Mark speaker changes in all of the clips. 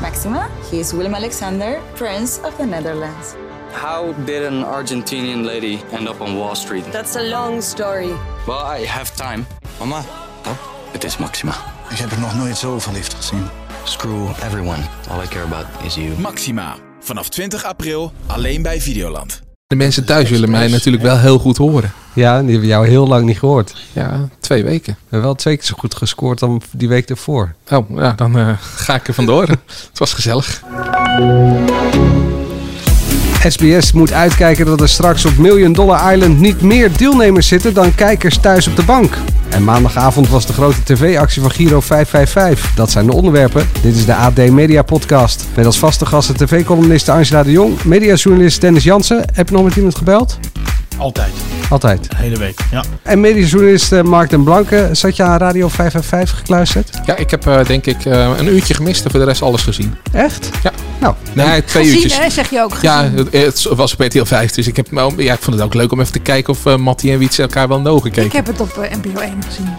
Speaker 1: Maxima. He is Willem Alexander, Prince of the Netherlands.
Speaker 2: How did an Argentinian lady end up on Wall Street?
Speaker 3: That's a long story.
Speaker 2: Well, I have time.
Speaker 4: Mama,
Speaker 2: Het is Maxima.
Speaker 5: Ik heb er nog nooit zo verliefd gezien.
Speaker 2: Screw everyone. All I care about is you.
Speaker 6: Maxima. Vanaf 20 april alleen bij Videoland.
Speaker 7: De mensen thuis willen mij natuurlijk wel heel goed horen.
Speaker 8: Ja, die hebben jou heel lang niet gehoord. We
Speaker 7: Ja, twee weken.
Speaker 8: hebben wel twee keer zo goed gescoord dan die week ervoor.
Speaker 7: Oh, ja, dan eh, ga ik er vandoor. het was gezellig.
Speaker 8: SBS moet uitkijken dat er straks op Million Dollar Island niet meer deelnemers zitten dan kijkers thuis op de bank. En maandagavond was de grote tv-actie van Giro 555. Dat zijn de onderwerpen. Dit is de AD Media Podcast. Met als vaste gasten tv-columniste Angela de Jong, mediajournalist Dennis Jansen. Heb je nog met iemand gebeld?
Speaker 9: Altijd.
Speaker 8: Altijd.
Speaker 9: De hele week. Ja.
Speaker 8: En mediajournalist eh, Mark den Blanke. Zat je aan Radio 555 gekluisterd?
Speaker 7: Ja, ik heb eh, denk ik eh, een uurtje gemist en voor de rest alles gezien.
Speaker 8: Echt?
Speaker 7: Ja.
Speaker 8: Nou,
Speaker 7: Nee, twee
Speaker 10: Gezien,
Speaker 7: uurtjes.
Speaker 10: hè, zeg je ook.
Speaker 7: Ja,
Speaker 10: Gezien.
Speaker 7: het, het was op RTL 5, dus ik, heb, wel- ja, ik vond het ook leuk om even te kijken of eh Mattie en Wietse elkaar wel nodig gekeken.
Speaker 10: ik heb het op eh, NPO 1 gezien.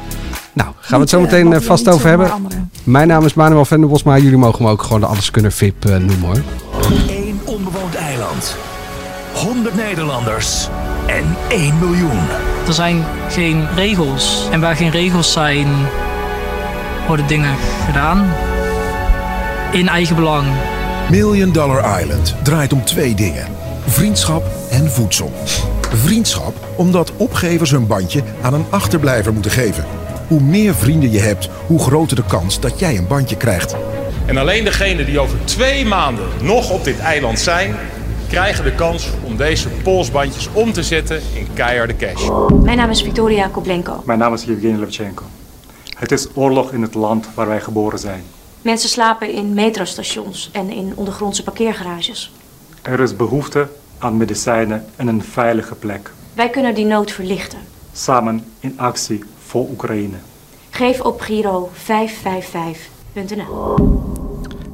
Speaker 8: nou gaan we het zo meteen eh, vast over hebben. Mijn naam is Manuel Venderbos, maar jullie mogen me ook gewoon de Alles Kunnen VIP eh, noemen hoor.
Speaker 9: Eén onbewoond eiland. 100 Nederlanders. En 1 miljoen.
Speaker 3: Er zijn geen regels. En waar geen regels zijn, worden dingen gedaan. In eigen belang.
Speaker 11: Million Dollar Island draait om twee dingen: vriendschap en voedsel. Vriendschap omdat opgevers hun bandje aan een achterblijver moeten geven. Hoe meer vrienden je hebt, hoe groter de kans dat jij een bandje krijgt.
Speaker 4: En alleen degenen die over twee maanden nog op dit eiland zijn, krijgen de kans om deze polsbandjes om te zetten in keiharde cash.
Speaker 3: Mijn naam is Victoria Koblenko.
Speaker 9: Mijn naam is Yevgeny Levchenko. Het is oorlog in het land waar wij geboren zijn.
Speaker 3: Mensen slapen in metrostations en in ondergrondse parkeergarages.
Speaker 9: Er is behoefte aan medicijnen en een veilige plek.
Speaker 3: Wij kunnen die nood verlichten.
Speaker 9: Samen in actie voor Oekraïne.
Speaker 3: Geef op Giro 555.nl.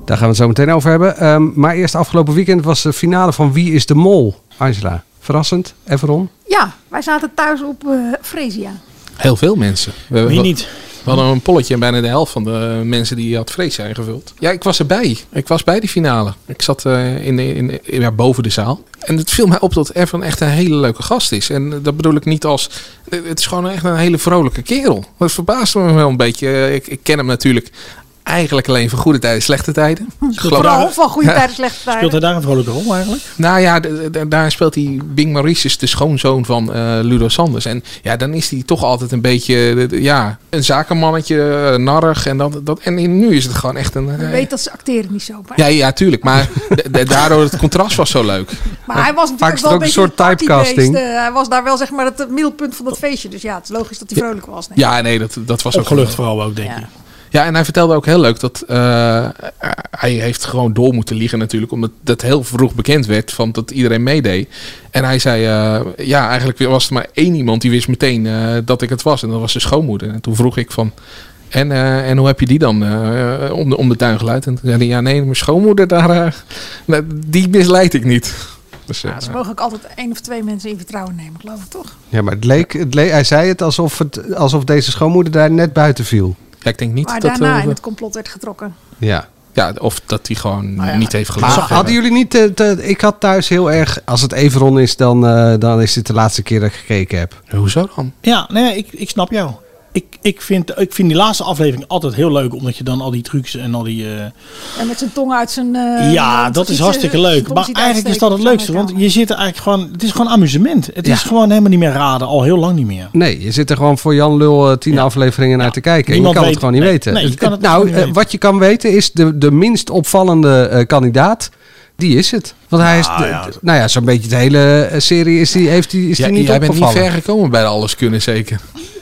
Speaker 8: Daar gaan we het zo meteen over hebben. Ehm, maar eerst afgelopen weekend was de finale van Wie is de Mol? Angela, verrassend. Everon?
Speaker 10: Ja, wij zaten thuis op eh Fresia.
Speaker 7: Heel veel mensen. We, hebben
Speaker 9: Wie
Speaker 7: wel-
Speaker 9: niet?
Speaker 7: We hadden een polletje en bijna de helft van de eh, mensen die had vrees zijn gevuld. Ja, ik was erbij. Ik was bij die finale. Ik zat eh, in, de- in, in- ja, boven de zaal. En het viel mij op dat Ervan echt een hele leuke gast is. En eh, dat bedoel ik niet als... eh, Het is gewoon echt een hele vrolijke kerel. Dat verbaasde me wel een beetje. Eh, Ik, ik ken hem natuurlijk eigenlijk alleen van goede tijden, slechte tijden. Ik geloof-
Speaker 10: Vooral van goede tijden, slechte tijden.
Speaker 9: Speelt hij daar een vrolijke rol eigenlijk?
Speaker 7: nou ja, d- d- daar speelt hij Bing Maurices, de schoonzoon van eh, Ludo Sanders. En ja, dan is hij toch altijd een beetje eh, d- ja, een zakenmannetje, eh, narrig. En, dat, dat, en nu is het gewoon echt een...
Speaker 10: Je
Speaker 7: eh,
Speaker 10: weet dat ze acteren niet zo. Maar,
Speaker 7: ja, ja, tuurlijk. Maar d- d- daardoor het contrast was zo leuk.
Speaker 10: maar hij was
Speaker 8: Vaak is
Speaker 10: natuurlijk
Speaker 8: het ook
Speaker 10: wel een
Speaker 8: een
Speaker 10: beetje
Speaker 8: soort
Speaker 10: partybeest,
Speaker 8: typecasting.
Speaker 10: eh, hij was daar wel zeg maar het eh, middelpunt van dat feestje. Dus ja, het is logisch dat hij vrolijk was. Nee.
Speaker 7: Ja, nee, dat, dat was ook
Speaker 9: Opgelucht vooral ook, denk
Speaker 10: Ja.
Speaker 9: ik.
Speaker 7: Ja, en hij vertelde ook heel leuk dat eh, hij heeft gewoon door moeten liegen natuurlijk. Omdat dat heel vroeg bekend werd van dat iedereen meedeed. En hij zei, eh, ja, eigenlijk was er maar één iemand die wist meteen eh, dat ik het was. En dat was zijn schoonmoeder. En toen vroeg ik van, en, eh, en hoe heb je die dan eh, om, de, om de tuin geleid? En toen zei hij, ja nee, mijn schoonmoeder, daar, eh, nou, die misleid ik niet. Dus, eh,
Speaker 10: Ja, ze mogen ook altijd één of twee mensen in vertrouwen nemen, geloof ik toch?
Speaker 8: Ja, maar het leek, het leek, hij zei het alsof, het alsof deze schoonmoeder daar net buiten viel.
Speaker 7: ja, ik denk niet
Speaker 10: Maar
Speaker 7: dat...
Speaker 10: daarna
Speaker 7: eh,
Speaker 10: in het complot werd getrokken.
Speaker 8: Ja.
Speaker 7: ja, of dat hij gewoon
Speaker 10: Oh
Speaker 7: niet heeft
Speaker 8: Maar
Speaker 7: gelachen.
Speaker 8: hadden jullie niet... eh, te- ik had thuis heel erg... Als het Everon is, dan, eh, dan is dit de laatste keer dat ik gekeken heb.
Speaker 7: Hoezo dan?
Speaker 9: Ja, nee, ik, ik snap jou. Ik, ik, vind, ik vind die laatste aflevering altijd heel leuk, omdat je dan al die trucs en al die... eh,
Speaker 10: En met zijn tong uit zijn... eh,
Speaker 9: ja,
Speaker 10: mond
Speaker 9: dat is
Speaker 10: iets,
Speaker 9: hartstikke
Speaker 10: eh, zijn
Speaker 9: leuk.
Speaker 10: tong
Speaker 9: Maar
Speaker 10: ziet
Speaker 9: eigenlijk is dat
Speaker 10: uitsteken
Speaker 9: het
Speaker 10: op
Speaker 9: leukste,
Speaker 10: zo'n
Speaker 9: want
Speaker 10: camera.
Speaker 9: je zit er eigenlijk gewoon... Het is gewoon amusement. Het is gewoon helemaal niet meer raden, al heel lang niet meer.
Speaker 8: Nee, je zit er gewoon voor Jan Lul eh, tien afleveringen naar te kijken. En je
Speaker 9: Niemand
Speaker 8: kan het
Speaker 9: weet-
Speaker 8: gewoon niet
Speaker 9: nee,
Speaker 8: weten.
Speaker 9: nee, je kan het
Speaker 8: nou,
Speaker 9: gewoon niet
Speaker 8: eh,
Speaker 9: weten.
Speaker 8: wat je kan weten is de, de minst opvallende eh, kandidaat. Die is het. Want hij is, de-
Speaker 9: ja.
Speaker 8: de- nou ja, zo'n beetje de hele eh, serie is die, heeft die, is die
Speaker 7: Ja,
Speaker 8: niet
Speaker 7: jij bent niet
Speaker 8: opgevallen.
Speaker 7: ver gekomen bij de alles kunnen zeker.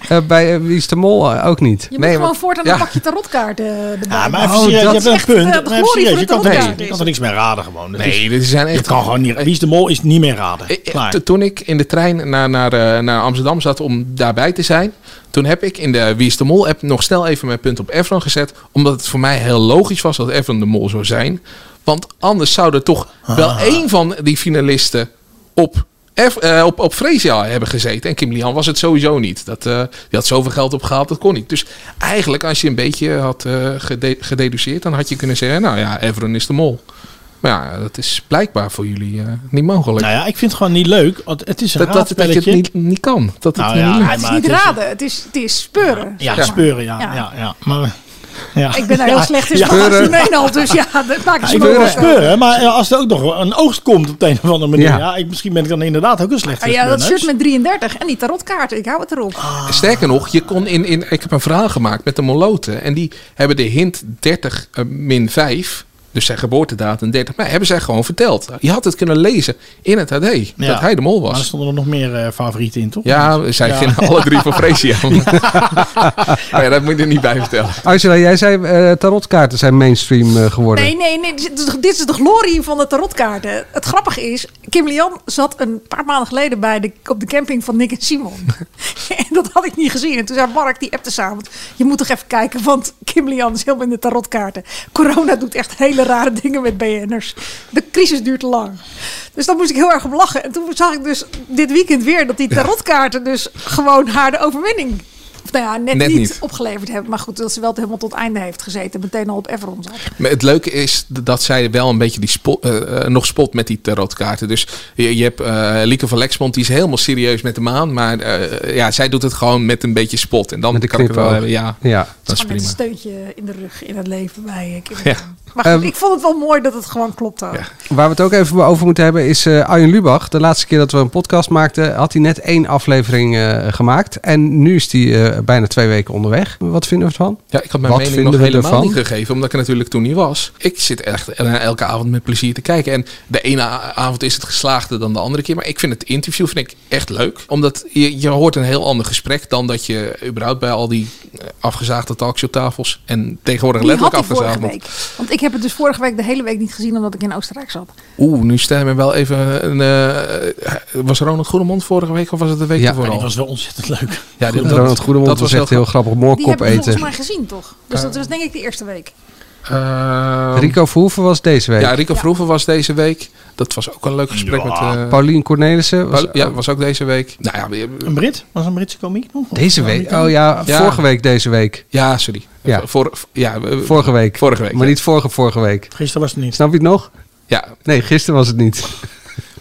Speaker 8: Eh, bij eh, Wie is de Mol eh, ook niet.
Speaker 10: Je
Speaker 7: Nee,
Speaker 10: moet gewoon
Speaker 7: want-
Speaker 10: voortaan
Speaker 7: ja.
Speaker 10: een pakje tarotkaarten eh, erbij.
Speaker 9: Ja, maar
Speaker 10: pakken.
Speaker 9: even serieus, je hebt
Speaker 10: dat
Speaker 9: een
Speaker 10: is echt, eh,
Speaker 9: punt.
Speaker 10: de
Speaker 9: Maar even
Speaker 10: glorie
Speaker 9: serieus,
Speaker 10: voor
Speaker 9: je
Speaker 10: de
Speaker 9: kan, toch-
Speaker 10: tarotkaart
Speaker 9: je
Speaker 10: is
Speaker 9: kan er niks meer raden gewoon. Dat is-
Speaker 7: Nee, dit zijn
Speaker 9: je
Speaker 7: echt...
Speaker 9: kan gewoon niet... Wie is de mol is niet meer raden.
Speaker 7: Ik- ik-
Speaker 9: Klaar.
Speaker 7: Eh, to- toen ik in de trein naar, naar, eh, naar Amsterdam zat om daarbij te zijn, toen heb ik in de Wie is de Mol app nog snel even mijn punt op Efron gezet. Omdat het voor mij heel logisch was dat Efron de Mol zou zijn. Want anders zou er toch wel één van die finalisten op F- eh, op, op Freesia hebben gezeten. En Kim Lian was het sowieso niet. Dat, eh, die had zoveel geld opgehaald, dat kon niet. Dus eigenlijk, als je een beetje had eh, gede- gededuceerd, dan had je kunnen zeggen: Nou ja, Everon is de mol. Maar ja, dat is blijkbaar voor jullie eh, niet mogelijk.
Speaker 9: Nou ja, ik vind het gewoon niet leuk. want Het is een
Speaker 7: dat, dat, dat je het
Speaker 9: raadspelletje.
Speaker 7: niet, niet kan. Dat het
Speaker 9: Nou
Speaker 7: niet
Speaker 9: ja,
Speaker 7: lukt.
Speaker 9: maar
Speaker 10: Het is niet raden, het is, het is speuren.
Speaker 9: Ja,
Speaker 10: zeg maar.
Speaker 9: speuren, ja. ja. ja, Maar, ja.
Speaker 10: Ik ben daar heel slecht in,
Speaker 9: Ja,
Speaker 10: maar
Speaker 9: ja.
Speaker 10: als al, dus ja, dat maakt het
Speaker 9: Ik wil wel
Speaker 10: mogelijk.
Speaker 9: speuren, maar eh, als er ook nog een oogst komt op de een of andere manier.
Speaker 7: Ja.
Speaker 9: Ja. ik, misschien ben ik dan inderdaad ook een slechte
Speaker 10: Ah ja, dat
Speaker 9: speurneus.
Speaker 10: shirt met 33 en die tarotkaarten, ik hou het erop.
Speaker 7: Ah. Sterker nog, je kon in, in, ik heb een verhaal gemaakt met de Moloten. En die hebben de hint 30 eh, min 5, dus zijn geboortedatum 30 mei, hebben zij gewoon verteld. Je had het kunnen lezen in het AD, dat hij de mol
Speaker 9: Maar er
Speaker 7: was.
Speaker 9: stonden er nog meer eh, favorieten in, toch?
Speaker 7: Ja, zij
Speaker 9: Ja.
Speaker 7: gingen alle drie voor Freesia. Maar ja, dat moet je er niet bij vertellen.
Speaker 8: Angela, jij zei eh, tarotkaarten zijn mainstream eh, geworden.
Speaker 10: Nee, nee, nee. Dit is, toch- dit is de glorie van de tarotkaarten. Het grappige is, Kim Lian zat een paar maanden geleden bij de, op de camping van Nick en Simon. en dat had ik niet gezien. En toen zei Mark, die appte samen. Je moet toch even kijken, want Kim Lian is helemaal in de tarotkaarten. Corona doet echt hele rare dingen met BN'ers. De crisis duurt te lang. Dus daar moest ik heel erg om lachen. En toen zag ik dus dit weekend weer dat die tarotkaarten dus gewoon haar de overwinning... Of nou ja, net,
Speaker 7: Net
Speaker 10: niet,
Speaker 7: niet.
Speaker 10: opgeleverd hebben. Maar goed, dat ze wel helemaal tot einde heeft gezeten. Meteen al op Everon zat.
Speaker 7: Maar het leuke is dat zij wel een beetje die spo- eh, eh, nog spot met die tarotkaarten. Dus je, je hebt eh, Lieke van Lexmond, die is helemaal serieus met de maan. Maar eh, ja, zij doet het gewoon met een beetje spot. En dan
Speaker 8: Met een
Speaker 7: kan ik het wel
Speaker 8: knipoog.
Speaker 7: hebben. Ja,
Speaker 8: Ja.
Speaker 7: dat is
Speaker 10: Gewoon met
Speaker 7: prima.
Speaker 10: een steuntje in de rug in het leven bij eh, Kim.
Speaker 7: Ja.
Speaker 10: Maar goed,
Speaker 8: Ehm,
Speaker 10: ik vond het wel mooi dat het gewoon klopt. ook.
Speaker 8: Waar we het ook even over moeten hebben is eh Arjen Lubach. De laatste keer dat we een podcast maakten, had hij net één aflevering eh, gemaakt. En nu is hij eh, bijna twee weken onderweg. Wat vinden we ervan?
Speaker 7: Ja, ik had mijn
Speaker 8: Wat
Speaker 7: mening
Speaker 8: vinden
Speaker 7: nog
Speaker 8: we
Speaker 7: helemaal
Speaker 8: ervan?
Speaker 7: niet gegeven, omdat ik er natuurlijk toen niet was. Ik zit echt el- elke avond met plezier te kijken. En de ene a- avond is het geslaagder dan de andere keer. Maar ik vind het interview vind ik echt leuk. Omdat je, je hoort een heel ander gesprek dan dat je überhaupt bij al die eh, afgezaagde talkshowtafels en tegenwoordig
Speaker 10: Die had
Speaker 7: letterlijk
Speaker 10: ik vorige
Speaker 7: afgezaagd. wordt.
Speaker 10: week. Want ik heb het dus vorige week de hele week niet gezien omdat ik in Oostenrijk zat.
Speaker 7: Oeh, nu stel je me wel even een... eh, was Ronald Goedemond vorige week of was het de week
Speaker 8: Ja,
Speaker 7: ervoor
Speaker 9: Maar die
Speaker 7: al?
Speaker 9: was wel ontzettend leuk.
Speaker 7: Ja, die-
Speaker 8: Ronald Goedemond
Speaker 7: dat
Speaker 8: was
Speaker 7: was
Speaker 8: echt heel
Speaker 7: heel
Speaker 8: grappig.
Speaker 10: Die
Speaker 8: Moorkop
Speaker 10: heb ik volgens
Speaker 8: eten.
Speaker 10: mij gezien, toch? Dus
Speaker 7: Ehm,
Speaker 10: dat was denk ik de eerste week.
Speaker 7: Eh,
Speaker 8: Rico Verhoeven was deze week.
Speaker 7: Ja, Rico Verhoeven was deze week. Dat was ook een leuk gesprek met... eh,
Speaker 8: Paulien Cornelissen was
Speaker 7: Was, ja, was ook deze week. Nou ja, we-
Speaker 9: Een Brit? Was een Britse komiek nog? Of
Speaker 8: deze
Speaker 9: een
Speaker 8: week.
Speaker 9: Amerikaan?
Speaker 8: Oh ja,
Speaker 7: Ja.
Speaker 8: vorige week deze week.
Speaker 7: ja sorry.
Speaker 8: Ja.
Speaker 7: Vor, ja, we-
Speaker 8: Vorige week.
Speaker 7: Vorige week,
Speaker 8: Maar
Speaker 7: ja.
Speaker 8: niet vorige vorige week.
Speaker 9: Gisteren was het niet.
Speaker 8: Snap je het nog?
Speaker 7: ja.
Speaker 8: Nee, gisteren was het niet.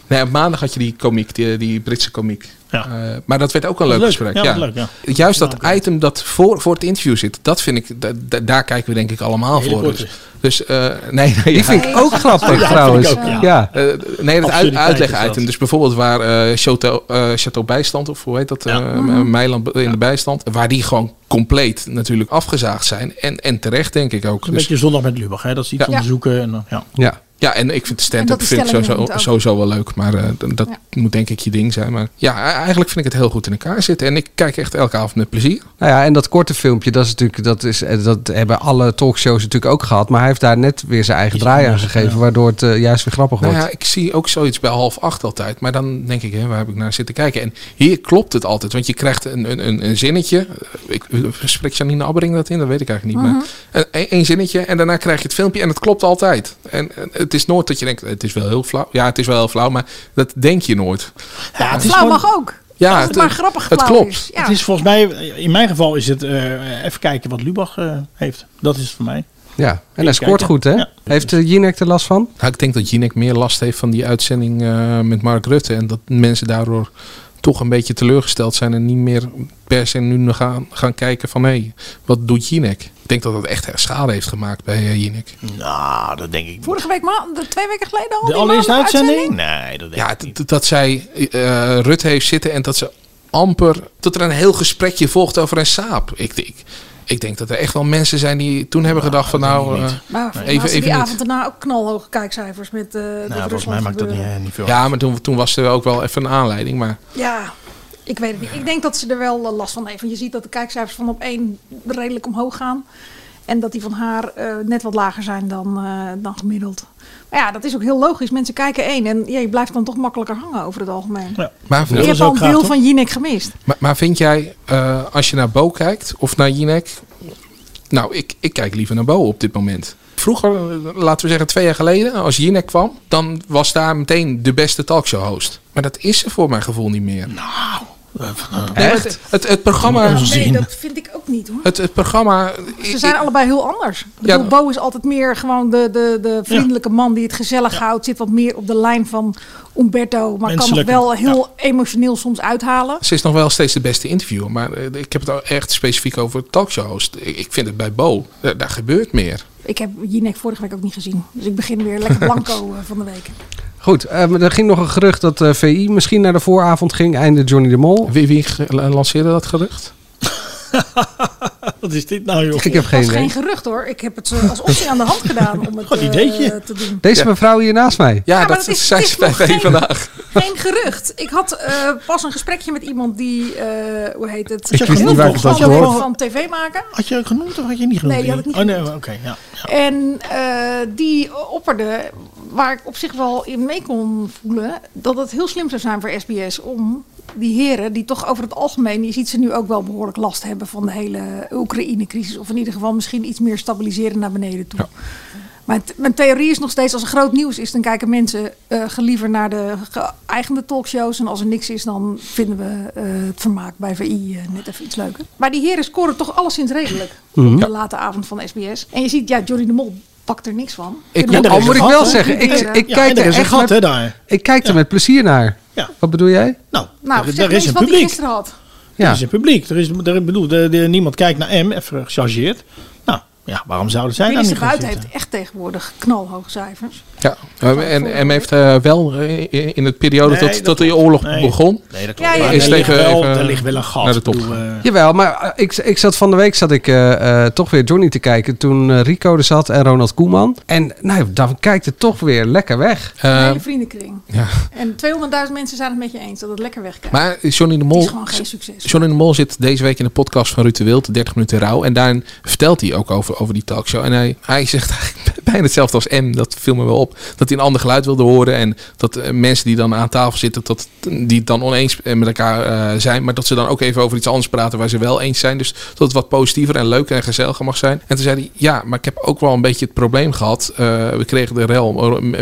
Speaker 7: Nee, op maandag had je die komiek, die, die Britse komiek.
Speaker 9: Ja.
Speaker 7: Eh, maar dat werd ook een
Speaker 9: Was
Speaker 7: leuk,
Speaker 9: leuk.
Speaker 7: gesprek.
Speaker 9: Ja,
Speaker 7: Ja,
Speaker 9: was leuk, ja.
Speaker 7: Juist dat
Speaker 9: Ja, oké.
Speaker 7: item dat voor, voor het interview zit, dat vind ik, da- da- daar kijken we denk ik allemaal
Speaker 9: Hele
Speaker 7: voor.
Speaker 9: korte.
Speaker 7: Dus, dus eh, nee, nee, ja.
Speaker 8: Die vind ik ook grappig
Speaker 9: ik
Speaker 8: trouwens.
Speaker 9: ook, ja.
Speaker 8: ja.
Speaker 7: Eh, nee, dat uit,
Speaker 9: Absurditeit is
Speaker 7: uitleg-item.
Speaker 9: dat.
Speaker 7: Dus bijvoorbeeld waar eh, Chateau, eh, Chateau Bijstand, of hoe heet dat?
Speaker 9: Ja.
Speaker 7: eh,
Speaker 8: Mhm.
Speaker 7: Meiland in de Bijstand. Waar die gewoon compleet natuurlijk afgezaagd zijn. En, en terecht, denk ik ook.
Speaker 9: Een
Speaker 7: Dus-
Speaker 9: beetje zondag met Lubach, hè? Dat ze iets
Speaker 7: Ja.
Speaker 9: onderzoeken. En, dan- ja.
Speaker 8: ja.
Speaker 7: Ja, en ik vind
Speaker 10: En dat
Speaker 7: stand-up
Speaker 10: die
Speaker 7: vind ik
Speaker 10: stellingen
Speaker 7: sowieso,
Speaker 10: moeten ook.
Speaker 7: sowieso wel leuk. Maar eh, d- dat moet denk ik je ding zijn. Maar ja, e- eigenlijk vind ik het heel goed in elkaar zitten. En ik kijk echt elke avond met plezier.
Speaker 8: Nou ja, en dat korte filmpje, dat, is natuurlijk, dat, is, eh, dat hebben alle talkshows natuurlijk ook gehad. Maar hij heeft daar net weer zijn eigen
Speaker 9: Iets
Speaker 8: draai aan
Speaker 9: anders,
Speaker 8: gegeven,
Speaker 9: ja.
Speaker 8: waardoor het eh, juist weer grappig
Speaker 7: Nou
Speaker 8: wordt.
Speaker 7: ja, ik zie ook zoiets bij half acht altijd. Maar dan denk ik, hè, waar heb ik naar zitten kijken? En hier klopt het altijd. Want je krijgt een, een, een, een zinnetje. Eh, Ik, spreekt Janine Abbering dat in? Dat weet ik eigenlijk niet.
Speaker 10: Mhm.
Speaker 7: Maar een, een zinnetje en daarna krijg je het filmpje. En het klopt altijd. En, en het is nooit dat je denkt, het is wel heel flauw. Ja, het is wel heel flauw. Maar dat denk je nooit.
Speaker 9: Ja, het is
Speaker 10: Flauw
Speaker 9: gewoon-
Speaker 10: mag ook.
Speaker 7: Ja,
Speaker 10: Als het, maar grappig
Speaker 7: het
Speaker 10: flauw
Speaker 7: klopt.
Speaker 10: is. Ja.
Speaker 9: Het is volgens mij, in mijn geval is het eh, even kijken wat Lubach eh, heeft. Dat is het voor mij.
Speaker 8: Ja, en hij scoort
Speaker 9: kijken.
Speaker 8: goed, hè?
Speaker 9: Ja.
Speaker 8: Heeft eh, Jinek er last van?
Speaker 7: Nou, ik denk dat Jinek meer last heeft van die uitzending eh, met Mark Rutte. En dat mensen daardoor toch een beetje teleurgesteld zijn. En niet meer per se nu nog gaan, gaan kijken van... hé, wat doet Jinek? Ik denk dat dat echt schade heeft gemaakt bij eh, Jinek.
Speaker 9: Nou, dat denk ik.
Speaker 10: Vorige week, maand, twee weken geleden al.
Speaker 9: De
Speaker 10: die
Speaker 9: allereerste
Speaker 10: maandag
Speaker 9: uitzending? Nee, dat denk
Speaker 7: Ja,
Speaker 9: ik niet.
Speaker 7: dat- dat zij eh, Rutte heeft zitten en dat ze amper... dat er een heel gesprekje volgt over een saap. Ik, ik, ik denk dat er echt wel mensen zijn die toen hebben gedacht van...
Speaker 9: dat denk
Speaker 7: nou,
Speaker 9: ik
Speaker 7: eh,
Speaker 9: niet.
Speaker 10: Maar volgens mij
Speaker 7: Even-
Speaker 10: had ze die
Speaker 7: even niet.
Speaker 10: avond daarna ook knalhoge kijkcijfers met eh dat
Speaker 9: Nou, volgens mij
Speaker 10: Rusland
Speaker 9: maakt dat niet,
Speaker 10: gebeuren.
Speaker 9: eh, niet veel uit.
Speaker 7: ja, maar toen, toen was er ook wel even een aanleiding. Maar
Speaker 10: Ja, ik weet het niet. Ik denk dat ze er wel eh, last van heeft. Want je ziet dat de kijkcijfers van op één redelijk omhoog gaan. En dat die van haar eh, net wat lager zijn dan, eh, dan gemiddeld. Maar ja, dat is ook heel logisch. Mensen kijken één en ja, je blijft dan toch makkelijker hangen over het algemeen.
Speaker 9: Ja.
Speaker 7: Maar-
Speaker 9: Dat
Speaker 10: Ik
Speaker 9: is
Speaker 10: heb
Speaker 9: ook
Speaker 10: al een
Speaker 9: gaaf,
Speaker 10: deel
Speaker 9: toch?
Speaker 10: van Jinek gemist.
Speaker 7: Maar, maar vind jij, eh, als je naar Bo kijkt of naar Jinek... Nou, ik, ik kijk liever naar Bo op dit moment. Vroeger, eh, laten we zeggen twee jaar geleden, als Jinek kwam... dan was daar meteen de beste talkshow-host. Maar dat is er voor mijn gevoel niet meer.
Speaker 9: Nou,
Speaker 7: eh, Echt? Het, het, het programma...
Speaker 10: Nee, dat vind ik ook niet hoor.
Speaker 7: Het, het programma...
Speaker 10: Ze zijn allebei heel anders. Ik
Speaker 7: Ja,
Speaker 10: bedoel, Bo is altijd meer gewoon de, de, de vriendelijke man die het gezellig houdt. Zit wat meer op de lijn van Umberto. Maar kan het
Speaker 7: Menselijker,
Speaker 10: wel heel emotioneel soms uithalen.
Speaker 7: Ze is nog wel steeds de beste interviewer, maar eh, ik heb het al echt specifiek over talkshows. Ik ik vind het bij Bo, eh, daar gebeurt meer.
Speaker 10: Ik heb Jinek vorige week ook niet gezien. Dus ik begin weer lekker blanco eh, van de week.
Speaker 8: Goed, eh, maar er ging nog een gerucht dat eh, VI misschien naar de vooravond ging. Einde Johnny de Mol.
Speaker 7: Wie, wie lanceerde dat gerucht?
Speaker 9: Wat is dit nou, joh?
Speaker 8: Ik heb geen
Speaker 10: Dat is
Speaker 8: idee.
Speaker 10: geen gerucht hoor. Ik heb het eh, als optie aan de hand gedaan om het
Speaker 9: Wat
Speaker 10: eh,
Speaker 9: ideetje.
Speaker 10: te doen.
Speaker 8: Deze mevrouw hier naast mij.
Speaker 7: Ja,
Speaker 10: maar
Speaker 7: dat,
Speaker 10: dat is-
Speaker 7: zei
Speaker 10: het
Speaker 7: ze
Speaker 10: is
Speaker 7: bij
Speaker 10: nog
Speaker 7: mij
Speaker 10: geen-
Speaker 7: vandaag.
Speaker 10: Geen gerucht. Ik had eh, pas een gesprekje met iemand die, eh, hoe heet het?
Speaker 9: Ik wist niet
Speaker 10: heel
Speaker 9: waar ik
Speaker 10: veel
Speaker 9: het over
Speaker 10: van-
Speaker 9: hoorde.
Speaker 10: van tv maken.
Speaker 9: Had je genoemd of had je niet genoemd?
Speaker 10: Nee, die had ik niet
Speaker 9: Oh nee, oké. ja.
Speaker 10: En eh, die opperde, waar ik op zich wel in mee kon voelen, dat het heel slim zou zijn voor SBS om die heren, die toch over het algemeen, je ziet ze nu ook wel behoorlijk last hebben van de hele Oekraïne-crisis, of in ieder geval misschien iets meer stabiliseren naar beneden toe. Maar t- mijn theorie is nog steeds, als er groot nieuws is, dan kijken mensen eh geliever naar de geëigende talkshows. En als er niks is, dan vinden we eh, het vermaak bij VI eh, net even iets leuker. Maar die heren scoren toch alleszins redelijk
Speaker 8: Mhm.
Speaker 10: op de late avond van SBS. En je ziet, ja, Johnny de Mol pakt er niks van.
Speaker 8: Ik,
Speaker 9: Ja,
Speaker 8: moet-
Speaker 9: er
Speaker 8: al
Speaker 9: is
Speaker 8: moet
Speaker 9: een
Speaker 8: ik
Speaker 9: gat,
Speaker 8: wel
Speaker 9: hè?
Speaker 8: zeggen, ik,
Speaker 10: Ja,
Speaker 8: ik
Speaker 9: Ja,
Speaker 8: kijk
Speaker 9: en er
Speaker 8: er
Speaker 9: is een
Speaker 8: echt
Speaker 9: gat, hè,
Speaker 8: met,
Speaker 9: daar.
Speaker 8: ik kijk er met plezier naar.
Speaker 9: Ja.
Speaker 8: Wat bedoel jij?
Speaker 9: Nou,
Speaker 10: Nou,
Speaker 9: er,
Speaker 10: zeg
Speaker 9: er
Speaker 10: eens
Speaker 9: is een
Speaker 10: wat hij
Speaker 9: publiek.
Speaker 10: gisteren had.
Speaker 8: Ja.
Speaker 9: Er is een publiek. Er is, er, ik bedoel, de- de- niemand kijkt naar M, even gechargeerd. Nou, ja, waarom zouden zij daar niet
Speaker 10: Minister
Speaker 9: gaan
Speaker 10: Buiten
Speaker 9: zitten?
Speaker 10: heeft echt tegenwoordig knalhoge cijfers.
Speaker 7: Ja, eh, en, en heeft eh, wel eh, in het periode
Speaker 9: Nee,
Speaker 7: tot,
Speaker 9: dat
Speaker 7: tot die
Speaker 9: klopt.
Speaker 7: oorlog
Speaker 9: Nee.
Speaker 7: begon.
Speaker 9: Nee, dat
Speaker 10: Ja,
Speaker 9: klopt.
Speaker 10: ja,
Speaker 9: Maar
Speaker 10: ja.
Speaker 7: Is
Speaker 9: er, ligt
Speaker 7: tegen
Speaker 9: wel,
Speaker 7: even
Speaker 9: er ligt wel een gat.
Speaker 7: naar de top
Speaker 9: Ik bedoel, eh,
Speaker 8: Jawel, maar eh, ik, ik zat van de week zat ik, eh, eh, toch weer Johnny te kijken toen eh, Rico er zat en Ronald Koeman. En nou, dan kijkt het toch weer lekker weg.
Speaker 9: Ehm.
Speaker 10: Een
Speaker 7: Eh,
Speaker 10: hele vriendenkring.
Speaker 7: ja.
Speaker 10: En 200.000 mensen zijn het met je eens dat het lekker wegkijkt.
Speaker 7: Maar Johnny de
Speaker 10: het
Speaker 7: Mol
Speaker 10: is gewoon geen succes.
Speaker 7: Johnny de Mol zit deze week in de podcast van Ruud de Wild, 30 minuten rouw. En daarin vertelt hij ook over, over die talkshow. En hij, hij zegt eigenlijk bijna hetzelfde als M, dat viel me wel op. Dat hij een ander geluid wilde horen. En dat eh, mensen die dan aan tafel zitten, dat, die het dan oneens eh, met elkaar eh, zijn. Maar dat ze dan ook even over iets anders praten waar ze wel eens zijn. Dus dat het wat positiever en leuker en gezelliger mag zijn. En toen zei hij, ja, maar ik heb ook wel een beetje het probleem gehad. Eh, we kregen de rel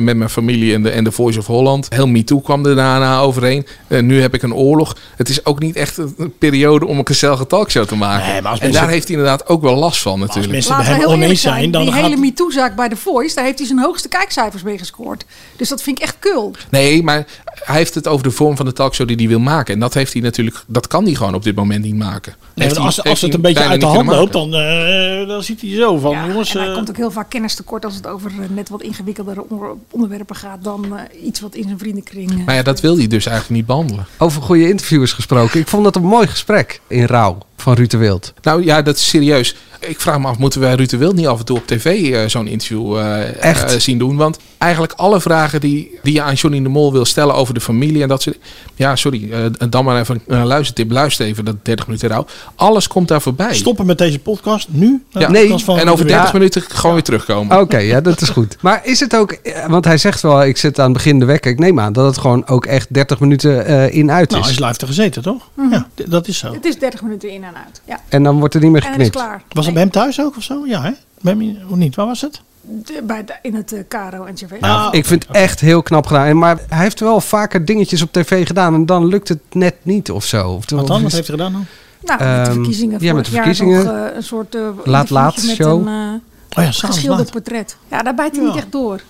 Speaker 7: met mijn familie en de, en de Voice of Holland. Heel MeToo kwam er daarna overheen. Eh, nu heb ik een oorlog. Het is ook niet echt een periode om een gezellige talkshow te maken.
Speaker 9: Nee, maar als
Speaker 7: en
Speaker 9: mensen-
Speaker 7: daar heeft hij inderdaad ook wel last van natuurlijk.
Speaker 9: mensen-
Speaker 10: Laten we
Speaker 9: bij hem
Speaker 10: heel eerlijk
Speaker 9: oneens
Speaker 10: zijn,
Speaker 9: zijn, dan
Speaker 10: die
Speaker 9: gaat-
Speaker 10: hele MeToo-zaak bij The Voice, daar heeft hij zijn hoogste kijkcijfers mee gescoord. Dus dat vind ik echt kul.
Speaker 7: Nee, maar hij heeft het over de vorm van de talkshow die hij wil maken. En dat heeft hij natuurlijk, dat kan hij gewoon op dit moment niet maken.
Speaker 9: nee,
Speaker 7: Heeft
Speaker 9: want
Speaker 7: hij-
Speaker 9: als, als het
Speaker 7: heeft hij
Speaker 9: een beetje
Speaker 7: bijna
Speaker 9: uit de
Speaker 7: niet
Speaker 9: hand
Speaker 7: kunnen
Speaker 9: loopt,
Speaker 7: maken.
Speaker 9: dan, eh, dan ziet hij zo van,
Speaker 10: Ja,
Speaker 9: jongens...
Speaker 10: en hij
Speaker 9: eh,
Speaker 10: komt ook heel vaak kennis tekort als het over eh, net wat ingewikkeldere onder- onderwerpen gaat dan eh, iets wat in zijn vriendenkring. eh,
Speaker 7: Maar ja, dat wil hij dus eigenlijk niet behandelen.
Speaker 8: Over goede interviewers gesproken. Ik vond dat een mooi gesprek in rouw van Ruud de Wild.
Speaker 7: Nou ja, dat is serieus. Ik vraag me af, moeten wij Ruud de Wild niet af en toe op tv eh, zo'n interview eh,
Speaker 8: Echt?
Speaker 7: eh, zien doen? Want eigenlijk alle vragen die, die je aan Johnny de Mol wil stellen over de familie en dat soort Ja, sorry, eh, dan maar even een luistertip. Luister even dat 30 minuten rouw. Alles komt daar voorbij.
Speaker 9: Stoppen met deze podcast, nu.
Speaker 7: Ja.
Speaker 8: Nee,
Speaker 7: En over 30
Speaker 9: minuten.
Speaker 7: minuten gewoon weer terugkomen.
Speaker 8: Oké, ja, dat is goed. Maar is het ook, eh, want hij zegt wel, ik zet aan het begin de wekker. Ik neem aan dat het gewoon ook echt 30 minuten eh, in-uit
Speaker 9: Nou,
Speaker 8: is.
Speaker 9: hij is live te gezeten, toch?
Speaker 10: Mhm.
Speaker 9: Ja, d- dat is zo.
Speaker 10: Het is 30 minuten in en uit. Ja.
Speaker 8: En dan wordt er niet meer
Speaker 10: En het is
Speaker 8: geknipt.
Speaker 10: klaar.
Speaker 9: Was het bij hem thuis ook of zo? Ja, hè? Bij hem, hoe niet? Waar was het?
Speaker 10: De- bij de- in het eh, Caro en
Speaker 8: Nou,
Speaker 10: Nou, CV.
Speaker 9: Ah,
Speaker 8: Ik vind het echt heel knap gedaan. En Maar hij heeft wel vaker dingetjes op tv gedaan en dan lukt het net niet of zo.
Speaker 9: Wat
Speaker 8: Of
Speaker 9: dan?
Speaker 8: of
Speaker 9: Wat
Speaker 8: is-
Speaker 9: heeft hij gedaan dan?
Speaker 10: nou, met de
Speaker 8: ehm,
Speaker 10: verkiezingen.
Speaker 8: ja, met de
Speaker 10: vorig
Speaker 8: verkiezingen.
Speaker 10: Jaar nog, eh, een soort eh,
Speaker 8: Laat Laat
Speaker 10: interviewtje met
Speaker 8: show.
Speaker 10: Een, eh,
Speaker 9: Oh ja, s'avonds
Speaker 10: geschilderd
Speaker 9: laat.
Speaker 10: portret. Ja, daar bijt hij
Speaker 9: Ja.
Speaker 10: niet echt door.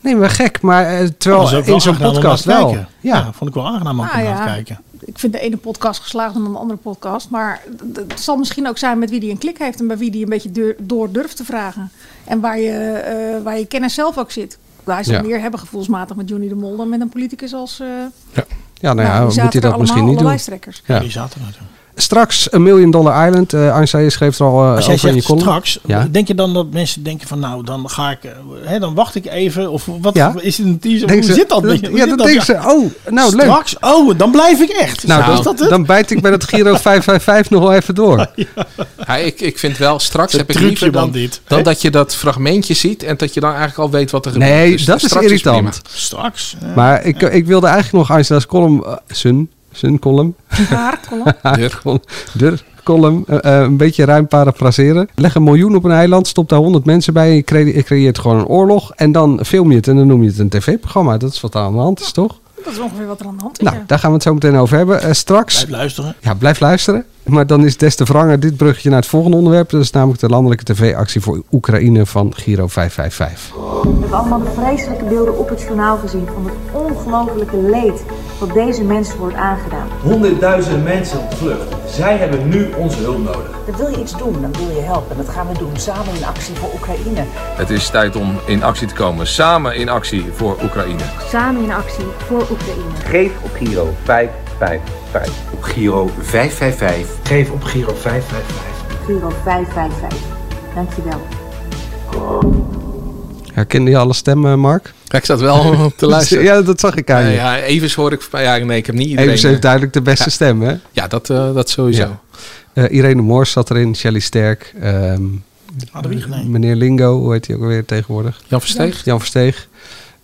Speaker 8: Nee, maar gek. Maar eh, terwijl
Speaker 9: Dat is ook wel
Speaker 8: in zo'n
Speaker 9: aangenaam om
Speaker 8: podcast
Speaker 9: naar te
Speaker 8: wel. Ja.
Speaker 9: kijken. Ja, vond ik wel aangenaam om
Speaker 10: Ah,
Speaker 9: naar te
Speaker 10: ja.
Speaker 9: kijken.
Speaker 10: Ik vind de ene podcast geslaagd dan de andere podcast. Maar d- d- het zal misschien ook zijn met wie die een klik heeft en bij wie die een beetje deur- door durft te vragen. En waar je, eh, waar je kennis zelf ook zit. Wij is
Speaker 7: Ja.
Speaker 10: meer hebben gevoelsmatig met Johnny de Mol dan met een politicus als. eh
Speaker 8: Nou ja, nou ja,
Speaker 10: die zaten
Speaker 8: moet hij
Speaker 10: er
Speaker 8: dat misschien niet
Speaker 10: allemaal, alle
Speaker 8: doen.
Speaker 10: lijsttrekkers.
Speaker 9: Ja.
Speaker 8: Ja.
Speaker 9: Die zaten er natuurlijk.
Speaker 8: Straks een Million Dollar Island. Eh Ansa, je schreef er al eh,
Speaker 9: Als jij
Speaker 8: over in je
Speaker 9: zegt
Speaker 8: column.
Speaker 9: straks,
Speaker 8: Ja.
Speaker 9: denk je dan dat mensen denken van nou, dan ga ik, eh, hè, dan wacht ik even. Of wat
Speaker 8: Ja.
Speaker 9: is het een teaser?
Speaker 8: Denken
Speaker 9: Hoe
Speaker 8: ze-
Speaker 9: zit dat? Hoe
Speaker 8: Ja,
Speaker 9: zit
Speaker 8: dan
Speaker 9: dat?
Speaker 8: denken ze, oh, nou leuk.
Speaker 9: Straks, oh, dan blijf ik echt.
Speaker 8: Nou,
Speaker 9: is
Speaker 8: dan,
Speaker 9: dat het?
Speaker 8: dan bijt ik bij dat Giro 555 nog wel even door.
Speaker 7: Ja, ik, ik vind wel, straks
Speaker 9: Het
Speaker 7: heb ik
Speaker 9: trucje
Speaker 7: liever dan,
Speaker 9: dan dit, hè?
Speaker 7: dan dat je dat fragmentje ziet en dat je dan eigenlijk al weet wat er gebeurt.
Speaker 8: Nee,
Speaker 7: Dus
Speaker 8: dat is
Speaker 7: straks
Speaker 8: irritant.
Speaker 7: prima.
Speaker 9: Straks. eh,
Speaker 8: maar ik, ik wilde eigenlijk nog Ansa's column, eh, zijn, zijn column,
Speaker 10: Haar, kolom.
Speaker 7: Deur.
Speaker 8: Col- de column eh, eh, een beetje ruim parafraseren. Leg een miljoen op een eiland, stop daar honderd mensen bij, je cre- je creëert gewoon een oorlog en dan film je het en dan noem je het een tv-programma. Dat is wat er aan de hand is, toch?
Speaker 10: Dat is ongeveer wat er aan de hand is.
Speaker 8: Nou,
Speaker 10: ja.
Speaker 8: daar gaan we het zo meteen over hebben. Eh, straks. Blijf
Speaker 9: luisteren.
Speaker 8: Ja, blijf luisteren. Maar dan is des te wranger dit bruggetje naar het volgende onderwerp. Dat is namelijk de landelijke tv-actie voor Oekraïne van Giro 555.
Speaker 12: We hebben allemaal de vreselijke beelden op het journaal gezien van het ongelofelijke leed dat deze mensen wordt aangedaan.
Speaker 13: Honderdduizenden mensen op de vlucht. Zij hebben nu onze hulp nodig.
Speaker 12: Dan wil je iets doen, dan wil je helpen. En dat gaan we doen samen in actie voor Oekraïne.
Speaker 14: Het is tijd om in actie te komen. Samen in actie voor Oekraïne.
Speaker 12: Samen in actie voor Oekraïne.
Speaker 14: Geef op Giro 555. Op Giro 555. Geef op Giro 555.
Speaker 12: Giro 555. Dankjewel.
Speaker 8: Herkende je alle stemmen, eh, Mark?
Speaker 7: Ja, ik zat wel op te luisteren.
Speaker 8: ja, dat zag ik aan
Speaker 7: Ja,
Speaker 8: je.
Speaker 7: ja, Evers hoor ik... Ja, nee, ik heb niet iedereen...
Speaker 8: Evers
Speaker 7: eh,
Speaker 8: heeft duidelijk de beste
Speaker 7: ja.
Speaker 8: stem, hè?
Speaker 7: Ja, dat, eh, dat sowieso.
Speaker 8: Ja. Eh, Irene Moors zat erin, Shelley Sterk. ehm,
Speaker 9: Adewig, nee.
Speaker 8: Meneer Lingo, hoe heet hij ook alweer tegenwoordig?
Speaker 7: Jan Versteeg.
Speaker 8: Jan Versteeg.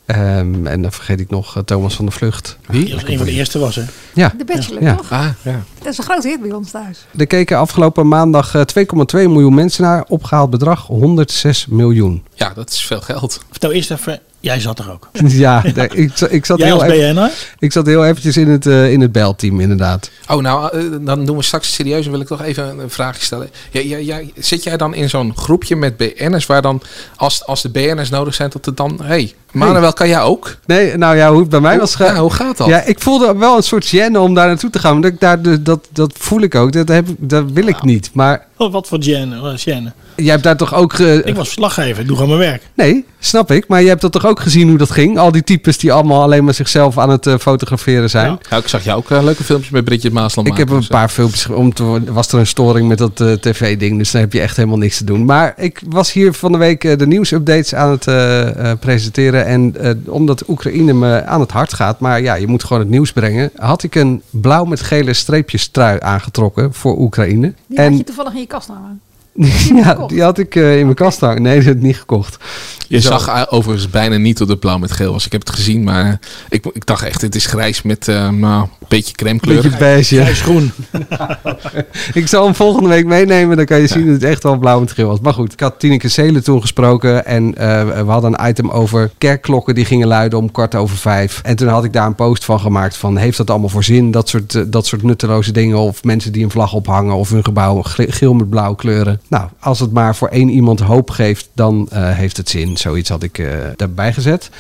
Speaker 8: Ehm, en dan vergeet ik nog eh, Thomas van der Vlucht.
Speaker 9: Die was een van de eerste was, hè?
Speaker 8: Ja.
Speaker 10: De Bachelor,
Speaker 8: Ja.
Speaker 10: toch?
Speaker 7: Ah, ja.
Speaker 10: Dat is een groot hit bij ons thuis.
Speaker 8: Er keken afgelopen maandag eh, 2,2 miljoen mensen naar. Opgehaald bedrag 106 miljoen.
Speaker 7: Ja, dat is veel geld.
Speaker 9: Vertel eerst even, jij zat er ook.
Speaker 8: Ja, daar- ik, za- ik zat
Speaker 9: Jij
Speaker 8: heel
Speaker 9: als
Speaker 8: even-
Speaker 9: BN'er?
Speaker 8: Ik zat heel eventjes in het, eh, in het belteam, inderdaad.
Speaker 7: Oh, nou, eh, dan doen we straks serieus en wil ik toch even een eh, vraagje stellen. Ja, ja, ja, zit jij dan in zo'n groepje met BN'ers waar dan, als, als de BN'ers nodig zijn, dat het dan... Hé, hey, Manuel, kan jij ook?
Speaker 8: Nee, nou ja, hoe het bij mij was gegaan.
Speaker 7: ja, hoe gaat dat?
Speaker 8: Ja, ik voelde wel een soort gêne om daar naartoe te gaan. want ik daar, de- dat, dat voel ik ook. Dat, heb, ik- dat wil ik niet. Maar
Speaker 9: Oh, wat voor Jen? was Jen?
Speaker 8: jij hebt daar toch ook... eh, ge-
Speaker 9: Ik was verslaggever, doe gewoon mijn werk.
Speaker 8: Nee, snap ik. Maar je hebt dat toch ook gezien hoe dat ging? Al die types die allemaal alleen maar zichzelf aan het eh, fotograferen zijn.
Speaker 7: Ja, ik zag jou ook eh, leuke filmpjes met Bridget Maasland dus
Speaker 8: Ik heb een paar filmpjes ge- om te worden- was er een storing met dat eh, tv-ding, dus dan heb je echt helemaal niks te doen. Maar ik was hier van de week eh, de nieuwsupdates aan het eh, eh, presenteren en eh, omdat Oekraïne me aan het hart gaat, maar ja, je moet gewoon het nieuws brengen, had ik een blauw met gele streepjes trui aangetrokken voor Oekraïne.
Speaker 10: Die
Speaker 8: en
Speaker 10: had je toevallig in je kast hangen.
Speaker 8: ja, die had ik eh, in mijn kast hangen. Nee, die heb ik niet gekocht.
Speaker 7: Je
Speaker 8: Zo.
Speaker 7: zag eh, overigens bijna niet dat het blauw met geel was. Ik heb het gezien, maar eh, ik, ik dacht echt, het is grijs met eh, nou, een beetje crème kleur.
Speaker 8: Beetje beige.
Speaker 9: groen.
Speaker 8: ik zal hem volgende week meenemen. Dan kan je zien dat het echt wel blauw en geel was. Maar goed, ik had Tineke Seelen toen gesproken. En eh, we hadden een item over kerkklokken die gingen luiden om kwart over vijf. En toen had ik daar een post van gemaakt van... heeft dat allemaal voor zin, dat soort, eh, dat soort nutteloze dingen... of mensen die een vlag ophangen of hun gebouw ge- geel met blauw kleuren. Nou, als het maar voor één iemand hoop geeft, dan eh, heeft het zin. Zoiets had ik eh daarbij gezet.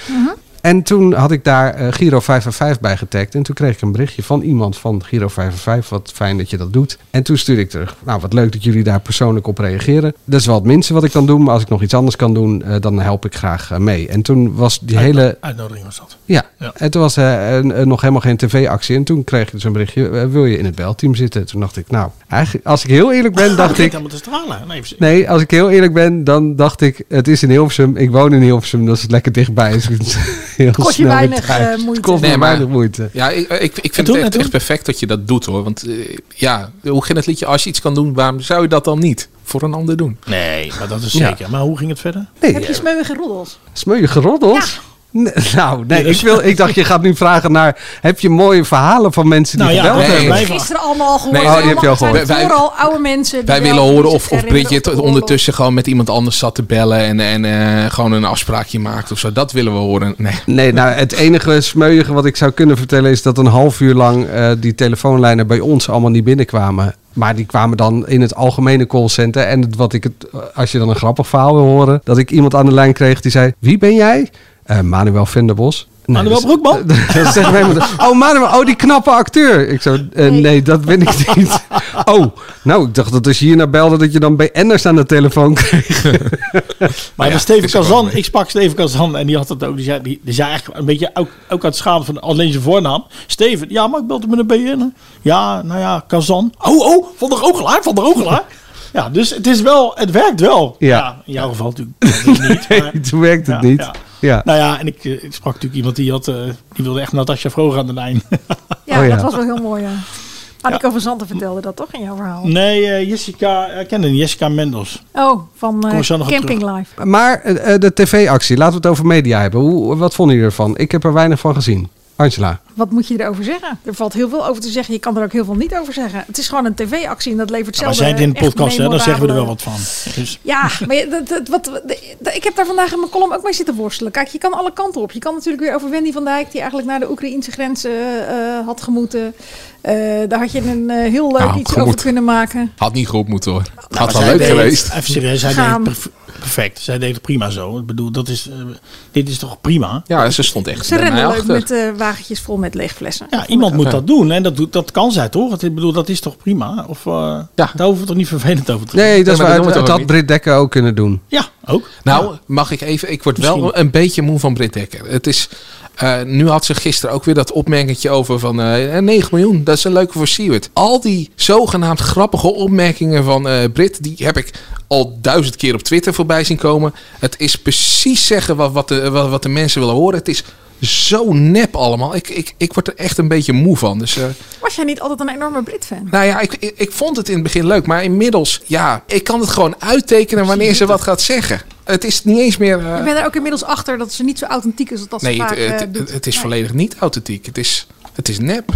Speaker 8: En toen had ik daar eh, Giro 555 bij getagd. En toen kreeg ik een berichtje van iemand van Giro 555. Wat fijn dat je dat doet. En toen stuurde ik terug. Nou, wat leuk dat jullie daar persoonlijk op reageren. Dat is wel het minste wat ik kan doen. Maar als ik nog iets anders kan doen, eh, dan help ik graag eh, mee. En toen was die hele...
Speaker 9: Uitnodiging was dat.
Speaker 8: Ja, en toen was eh, een- een- nog helemaal geen tv-actie. En toen kreeg ik dus een berichtje. eh, wil je in het belteam zitten? Toen dacht ik, nou, eigenlijk, als ik heel eerlijk ben, dacht ik...
Speaker 9: Nou, helemaal te stralen. Nee, precies.
Speaker 8: Nee, als ik heel eerlijk ben, dan dacht ik, het is in Hilversum. Ik woon in Hilversum, dat is lekker dichtbij. Dus het is heel
Speaker 10: Kost je
Speaker 8: snel weer
Speaker 10: weinig,
Speaker 8: thuis.
Speaker 10: eh, moeite.
Speaker 8: Het kost
Speaker 7: Nee,
Speaker 8: me
Speaker 7: maar-
Speaker 8: weinig moeite.
Speaker 7: Ja, ik, eh, ik, ik vind
Speaker 8: doen,
Speaker 7: het
Speaker 8: het
Speaker 7: echt,
Speaker 8: doen.
Speaker 7: echt perfect dat je dat doet hoor. Want eh, ja, hoe ging het liedje? Als je iets kan doen, waarom zou je dat dan niet voor een ander doen?
Speaker 9: Nee, maar dat is
Speaker 7: Ja.
Speaker 9: zeker. Maar hoe ging het verder?
Speaker 10: Heb je smeuïge roddels?
Speaker 8: Smeu je geroddeld? Nee, nou, nee,
Speaker 9: dus-
Speaker 8: ik, wil, ik dacht, je gaat nu vragen naar, heb je mooie verhalen van mensen die
Speaker 9: Nou ja,
Speaker 8: geweld
Speaker 7: nee,
Speaker 8: hebben?
Speaker 7: nee.
Speaker 10: Gisteren allemaal al gehoord.
Speaker 7: Nee, oh, die heb je al
Speaker 10: Allemaal-
Speaker 7: gehoord.
Speaker 10: zijn
Speaker 7: Wij-
Speaker 10: vooral oude mensen. die
Speaker 7: Wij
Speaker 10: wel
Speaker 7: willen horen of,
Speaker 10: iets
Speaker 7: of
Speaker 10: herinneren
Speaker 7: Bridget
Speaker 10: op de oorlog.
Speaker 7: ondertussen gewoon met iemand anders zat te bellen en, en eh, gewoon een afspraakje maakt of zo. Dat willen we horen. Nee.
Speaker 8: Nee, nou, het enige smeuïge wat ik zou kunnen vertellen is dat een half uur lang eh, die telefoonlijnen bij ons allemaal niet binnenkwamen. Maar die kwamen dan in het algemene callcenter. En het- wat ik het, eh, als je dan een grappig verhaal wil horen, dat ik iemand aan de lijn kreeg die zei: Wie ben jij? Eh, Manuel Venderbos. Nee,
Speaker 9: Manuel
Speaker 8: dat is-
Speaker 9: Broekman?
Speaker 8: dat zegt mij iemand, Oh, Manuel, oh, die knappe acteur. Ik zo, eh, nee, dat ben ik niet. Oh, nou, ik dacht dat als je hier naar belde, dat je dan BN'ers aan de telefoon kreeg.
Speaker 9: Maar ja, Steven Kazan, ik sprak Steven Kazan en die had het ook. Die zei, die, die zei eigenlijk een beetje ook, ook uit schade van alleen zijn voornaam. Steven, ja, maar ik belde met een BN. Ja, nou ja, Kazan. Oh, oh, van der Ogelaar, van der Ogelaar. Ja, dus het is wel, het werkt wel.
Speaker 8: Ja.
Speaker 9: in jouw geval natuurlijk niet. Maar,
Speaker 8: Toen werkte het
Speaker 9: Ja,
Speaker 8: niet.
Speaker 9: ja.
Speaker 8: ja.
Speaker 9: Nou ja, en ik, eh, ik sprak natuurlijk iemand die had, eh, die wilde echt Natasja Vroger aan de lijn.
Speaker 10: Ja,
Speaker 9: Oh, ja.
Speaker 10: dat was wel heel mooi. Ja. Anneke van Zanten vertelde dat toch in jouw verhaal?
Speaker 9: nee, eh, Jessica, eh, kende die, Jessica Mendels.
Speaker 10: Oh, van eh,
Speaker 9: Kom zo nog op
Speaker 10: Camping
Speaker 9: terug.
Speaker 10: Life.
Speaker 8: Maar eh, eh, de tv-actie, laten we het over media hebben. Hoe, wat vonden jullie ervan? Ik heb er weinig van gezien. Angela.
Speaker 10: Wat moet je erover zeggen? Er valt heel veel over te zeggen. Je kan er ook heel veel niet over zeggen. Het is gewoon een tv-actie en dat levert
Speaker 9: Maar
Speaker 10: zelf.
Speaker 9: zijn het in de podcast, hè, dan zeggen we er wel wat van. Dus
Speaker 10: Ja, maar je- dat, dat, wat, dat- dat- ik heb daar vandaag in mijn column ook mee zitten worstelen. Kijk, je kan alle kanten op. Je kan natuurlijk weer over Wendy van Dijk, die eigenlijk naar de Oekraïnse grens eh, eh, had gemoeten. Eh, daar had je een eh, heel leuk
Speaker 7: Nou,
Speaker 10: iets
Speaker 7: gemoet.
Speaker 10: over kunnen maken.
Speaker 7: Had niet goed moeten hoor.
Speaker 9: Nou,
Speaker 7: had
Speaker 9: maar
Speaker 7: wel
Speaker 9: zij
Speaker 7: leuk
Speaker 9: deed-
Speaker 7: geweest.
Speaker 9: Even serieus, zij
Speaker 10: Gaan.
Speaker 9: deed perf- perfect. Zij deed het prima zo. Ik bedoel, dat is, eh, dit is toch prima?
Speaker 7: Ja, ze stond echt
Speaker 10: Ze rennen leuk met eh, wagentjes vol met leegflessen.
Speaker 9: Ja, iemand moet dat doen en dat, doet, dat kan zij toch? Het- Ik bedoel, dat is toch prima? Of, eh, Daar hoeven we toch niet vervelend over te
Speaker 8: Nee, dat, is waar,
Speaker 7: doen we
Speaker 8: dat,
Speaker 7: toch ook
Speaker 8: had
Speaker 7: niet?
Speaker 8: Britt Dekker ook kunnen doen.
Speaker 9: Ja, ook.
Speaker 7: Nou, mag ik even. Ik word wel
Speaker 8: Misschien.
Speaker 7: een beetje moe van Britt Dekker. Het is. eh, nu had ze gisteren ook weer dat opmerkingetje over van eh 9 miljoen. Dat is een leuke voor Seward. Al die zogenaamd grappige opmerkingen van eh Britt, die heb ik al duizend keer op Twitter voorbij zien komen. Het is precies zeggen wat, wat, de, wat, wat de mensen willen horen. Het is zo nep allemaal. Ik, ik, ik word er echt een beetje moe van. Dus eh,
Speaker 10: Was jij niet altijd een enorme Brit-fan?
Speaker 7: nou ja, ik, ik, ik vond het in het begin leuk. Maar inmiddels, ja, ik kan het gewoon uittekenen wanneer ze wat gaat zeggen. Het is niet eens meer... eh,
Speaker 10: Ik ben er ook inmiddels achter dat ze niet zo authentiek is als dat
Speaker 7: nee,
Speaker 10: ze vaak
Speaker 7: het, het,
Speaker 10: eh, doet.
Speaker 7: het- het is volledig niet authentiek. Het is, het is nep.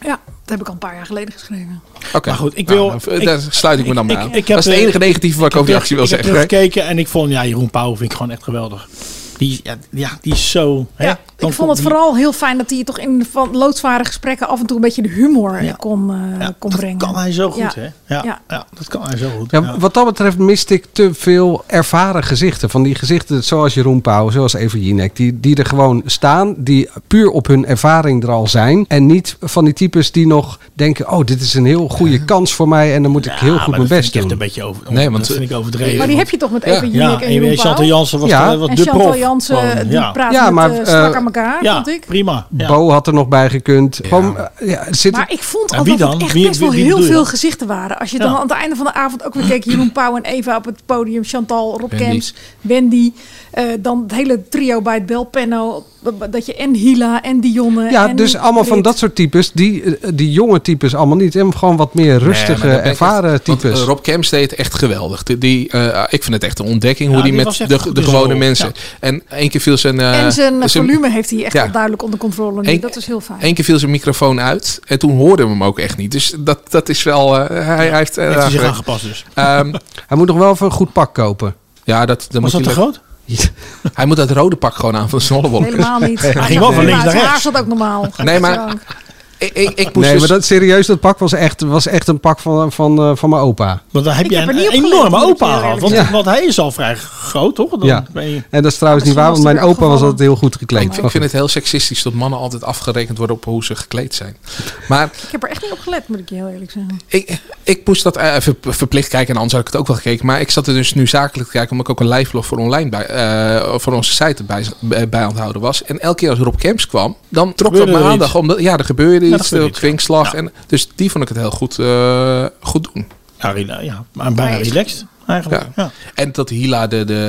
Speaker 10: Ja, dat heb ik al een paar jaar geleden geschreven.
Speaker 7: Oké.
Speaker 9: Maar goed, ik
Speaker 7: Nou,
Speaker 9: wil-
Speaker 7: dan v-
Speaker 9: ik-
Speaker 7: daar sluit ik me dan
Speaker 9: ik-
Speaker 7: maar
Speaker 9: ik-
Speaker 7: aan.
Speaker 9: ik heb,
Speaker 7: dat is de
Speaker 9: eh,
Speaker 7: enige negatieve wat ik over die actie wil
Speaker 9: ik heb
Speaker 7: zeggen. hè?
Speaker 9: teruggekeken en ik vond, ja, Jeroen Pauw vind ik gewoon echt geweldig. Die, ja, ja, die is zo... hè?
Speaker 10: Ja,
Speaker 9: Dan
Speaker 10: ik vond het
Speaker 9: die-
Speaker 10: vooral heel fijn dat hij je toch in de van loodzware gesprekken af en toe een beetje de humor eh, kon, eh, kon brengen.
Speaker 9: kan hij zo goed,
Speaker 10: Ja.
Speaker 9: hè? Ja,
Speaker 10: Ja.
Speaker 9: ja. dat kan hij zo goed.
Speaker 8: Ja,
Speaker 9: ja.
Speaker 8: Wat dat betreft miste ik te veel ervaren gezichten. Van die gezichten zoals Jeroen Pauw, zoals Eva Jinek. Die, die er gewoon staan, die puur op hun ervaring er al zijn. En niet van die types die nog denken... oh, dit is een heel goede kans voor mij en dan moet ik heel goed mijn best doen.
Speaker 9: Een beetje over,
Speaker 8: Nee,
Speaker 9: nee,
Speaker 8: want-
Speaker 9: want dat
Speaker 7: eh,
Speaker 9: vind ik overdreven.
Speaker 10: Maar die heb je toch met Eva
Speaker 9: Ja.
Speaker 10: Jinek
Speaker 9: Ja,
Speaker 10: en Jeroen
Speaker 9: en eh, Chantal
Speaker 10: Pauw?
Speaker 9: Jansen was
Speaker 8: Ja.
Speaker 9: toch wel
Speaker 10: en
Speaker 9: de
Speaker 10: Chantal
Speaker 9: prof
Speaker 10: Jansen, eh,
Speaker 9: gewoon,
Speaker 10: die
Speaker 9: ja.
Speaker 10: praat
Speaker 8: Ja,
Speaker 10: met,
Speaker 8: maar,
Speaker 10: eh, strak
Speaker 8: eh,
Speaker 10: aan elkaar,
Speaker 9: Ja,
Speaker 10: vond ik.
Speaker 9: prima. Ja.
Speaker 8: Bo had er nog bij gekund. Gewoon, eh, ja, zit
Speaker 10: Maar ik vond
Speaker 8: En
Speaker 10: al
Speaker 8: wie
Speaker 10: dat het
Speaker 8: dan?
Speaker 10: echt
Speaker 8: Wie-
Speaker 10: best
Speaker 8: wie-
Speaker 10: wel
Speaker 8: wie
Speaker 10: heel
Speaker 8: bedoel je
Speaker 10: veel
Speaker 8: dan?
Speaker 10: gezichten waren. Als je
Speaker 9: Ja.
Speaker 10: dan aan het einde van de avond ook weer keek... Jeroen Pauw en Eva op het podium, Chantal, Rob
Speaker 7: Wendy.
Speaker 10: Kemps, Wendy... eh, dan het hele trio bij het Belpenno. Dat je en Hila en Dionne
Speaker 8: Ja,
Speaker 10: en
Speaker 8: dus allemaal van
Speaker 10: Brit.
Speaker 8: dat soort types. Die, eh, die jonge types allemaal niet. En gewoon wat meer rustige,
Speaker 7: Nee, maar dat ben ik
Speaker 8: ervaren
Speaker 7: echt- want,
Speaker 8: types.
Speaker 7: eh, Rob Kemps deed het echt geweldig. Die, die, eh, ik vind het echt een ontdekking hoe
Speaker 9: Ja,
Speaker 7: die,
Speaker 9: die
Speaker 7: met
Speaker 9: was echt
Speaker 7: de,
Speaker 9: goed
Speaker 7: de
Speaker 9: in
Speaker 7: gewone
Speaker 9: zijn rol,
Speaker 7: mensen. En één keer viel zijn. eh,
Speaker 10: en zijn eh, volume heeft hij echt
Speaker 7: ja.
Speaker 10: wel duidelijk onder controle. Nu.
Speaker 7: Eén-
Speaker 10: Dat is heel fijn.
Speaker 7: Eén keer viel zijn microfoon uit. En toen hoorden we hem ook echt niet. Dus dat, dat is wel. eh, hij, hij heeft. eh,
Speaker 9: Heeft hij zich
Speaker 7: aangewerkt.
Speaker 9: aangepast dus.
Speaker 7: Ehm,
Speaker 8: Hij moet nog wel even een goed pak kopen.
Speaker 7: ja, dat, dan
Speaker 9: Was
Speaker 7: moet
Speaker 9: dat te
Speaker 7: hij
Speaker 9: groot?
Speaker 7: leuk- Hij moet dat rode pak gewoon aan van de snollewolk.
Speaker 10: Helemaal niet.
Speaker 9: Hij ging wel van links naar
Speaker 10: Zijn haar
Speaker 9: rechts.
Speaker 10: zat ook normaal.
Speaker 7: Nee, maar ik, ik, ik moest
Speaker 8: Nee, maar
Speaker 7: dus-
Speaker 8: dat, serieus, dat pak was echt, was echt een pak van, van, eh, van mijn opa.
Speaker 9: Want dan heb
Speaker 10: Ik
Speaker 9: je
Speaker 10: heb er
Speaker 9: een
Speaker 10: niet op gelet,
Speaker 9: enorme
Speaker 10: moet ik
Speaker 9: opa
Speaker 10: heel
Speaker 9: gehad.
Speaker 10: eerlijk
Speaker 9: Want,
Speaker 8: zeggen.
Speaker 9: want hij is al vrij groot, toch? Dan
Speaker 8: Ja.
Speaker 9: ben je-
Speaker 8: En Oh, dat is trouwens niet
Speaker 10: Misschien
Speaker 8: waar,
Speaker 10: was
Speaker 8: want mijn
Speaker 10: hij er
Speaker 8: opa was
Speaker 10: opgevallen.
Speaker 8: altijd heel goed gekleed.
Speaker 7: Ik vind het heel seksistisch dat mannen altijd afgerekend worden op hoe ze gekleed zijn. Maar
Speaker 10: Ik heb er echt niet op gelet, moet ik je heel eerlijk zeggen.
Speaker 7: ik, ik moest dat eh, ver- verplicht kijken. En anders had ik het ook wel gekeken. Maar ik zat er dus nu zakelijk te kijken. Omdat ik ook een liveblog voor online bij, eh, voor onze site bij, eh, bij aan het houden was. En elke keer als Rob Camps kwam, dan trok dat
Speaker 9: Gebeurde
Speaker 7: mijn
Speaker 9: er
Speaker 7: aandacht.
Speaker 9: iets.
Speaker 7: Omdat, ja,
Speaker 9: er
Speaker 7: er gebeurde iets.
Speaker 9: gebeurde
Speaker 7: de
Speaker 9: iets, ja.
Speaker 7: kwinkslag.
Speaker 9: Ja.
Speaker 7: En, dus die vond ik het heel goed, eh, goed doen.
Speaker 9: Ja, rela- ja, maar bijna
Speaker 10: Hij is-
Speaker 9: relaxed eigenlijk.
Speaker 7: Ja.
Speaker 9: Ja.
Speaker 7: En dat Hila de, de,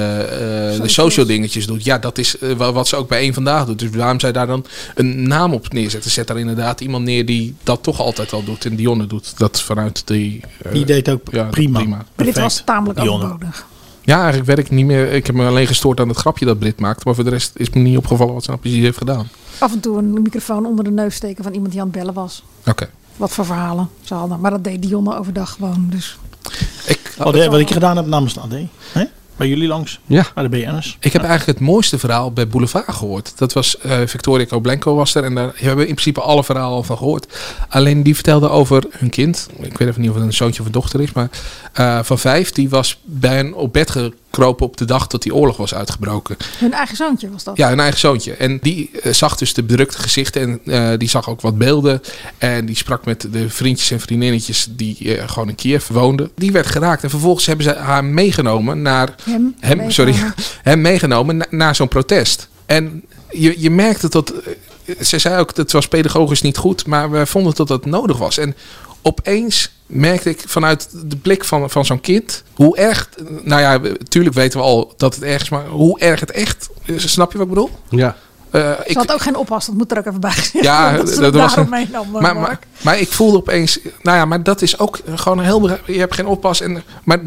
Speaker 7: eh, de social dingetjes doet. Ja, dat is eh, wa- wat ze ook bij één vandaag doet. Dus waarom zij daar dan een naam op neerzetten? Zet daar inderdaad iemand neer die dat toch altijd al doet. En Dionne doet dat vanuit die... eh,
Speaker 9: Die deed ook
Speaker 7: ja,
Speaker 9: prima.
Speaker 7: prima.
Speaker 10: Dit
Speaker 9: Perfect.
Speaker 10: was tamelijk
Speaker 9: Dionne.
Speaker 10: overbodig.
Speaker 7: Ja, eigenlijk werk ik niet meer. Ik heb me alleen gestoord aan het grapje dat Brit maakt. Maar voor de rest is me niet opgevallen wat ze nou precies heeft gedaan.
Speaker 10: Af en toe een microfoon onder de neus steken van iemand die aan het bellen was.
Speaker 7: Oké.
Speaker 10: Wat voor verhalen ze hadden. Maar dat deed Dionne overdag gewoon. Dus
Speaker 7: Ik,
Speaker 9: Wat, eh, wat ik gedaan heb namens de AD. Hè? Bij jullie langs.
Speaker 8: Ja.
Speaker 9: Bij de BN'ers.
Speaker 7: ik heb eigenlijk het mooiste verhaal bij Boulevard gehoord. Dat was eh, Victoria Coblenko was er. En daar hebben we in principe alle verhalen al van gehoord. Alleen die vertelde over hun kind. Ik weet even niet of het een zoontje of een dochter is. Maar eh, van vijf. Die was bij een op bed gekropen op de dag dat die oorlog was uitgebroken.
Speaker 10: hun eigen zoontje was dat.
Speaker 7: Ja, hun eigen zoontje. En die eh, zag dus de bedrukte gezichten en eh, die zag ook wat beelden. En die sprak met de vriendjes en vriendinnetjes die eh, gewoon in Kiev woonden. Die werd geraakt en vervolgens hebben ze haar meegenomen naar...
Speaker 10: Hem,
Speaker 7: hem sorry. Hem meegenomen na- naar zo'n protest. En je, je merkte dat... eh, Ze zei ook, dat was pedagogisch niet goed, maar we vonden dat dat nodig was. En opeens merkte ik vanuit de blik van, van zo'n kind hoe erg... Nou ja, we- tuurlijk weten we al dat het erg is, maar hoe erg het echt... is. Snap je wat ik bedoel?
Speaker 8: Ja.
Speaker 7: Eh,
Speaker 10: Ze had ook geen oppas, dat moet er ook even bij gezegd
Speaker 7: Ja,
Speaker 10: worden, dat, ze
Speaker 7: dat
Speaker 10: het
Speaker 7: was
Speaker 10: daarom
Speaker 7: een-
Speaker 10: meenam. eh,
Speaker 7: maar, maar,
Speaker 10: Mark.
Speaker 7: maar ik voelde opeens, nou ja, maar dat is ook gewoon een heel. bera- Je hebt geen oppas. En, maar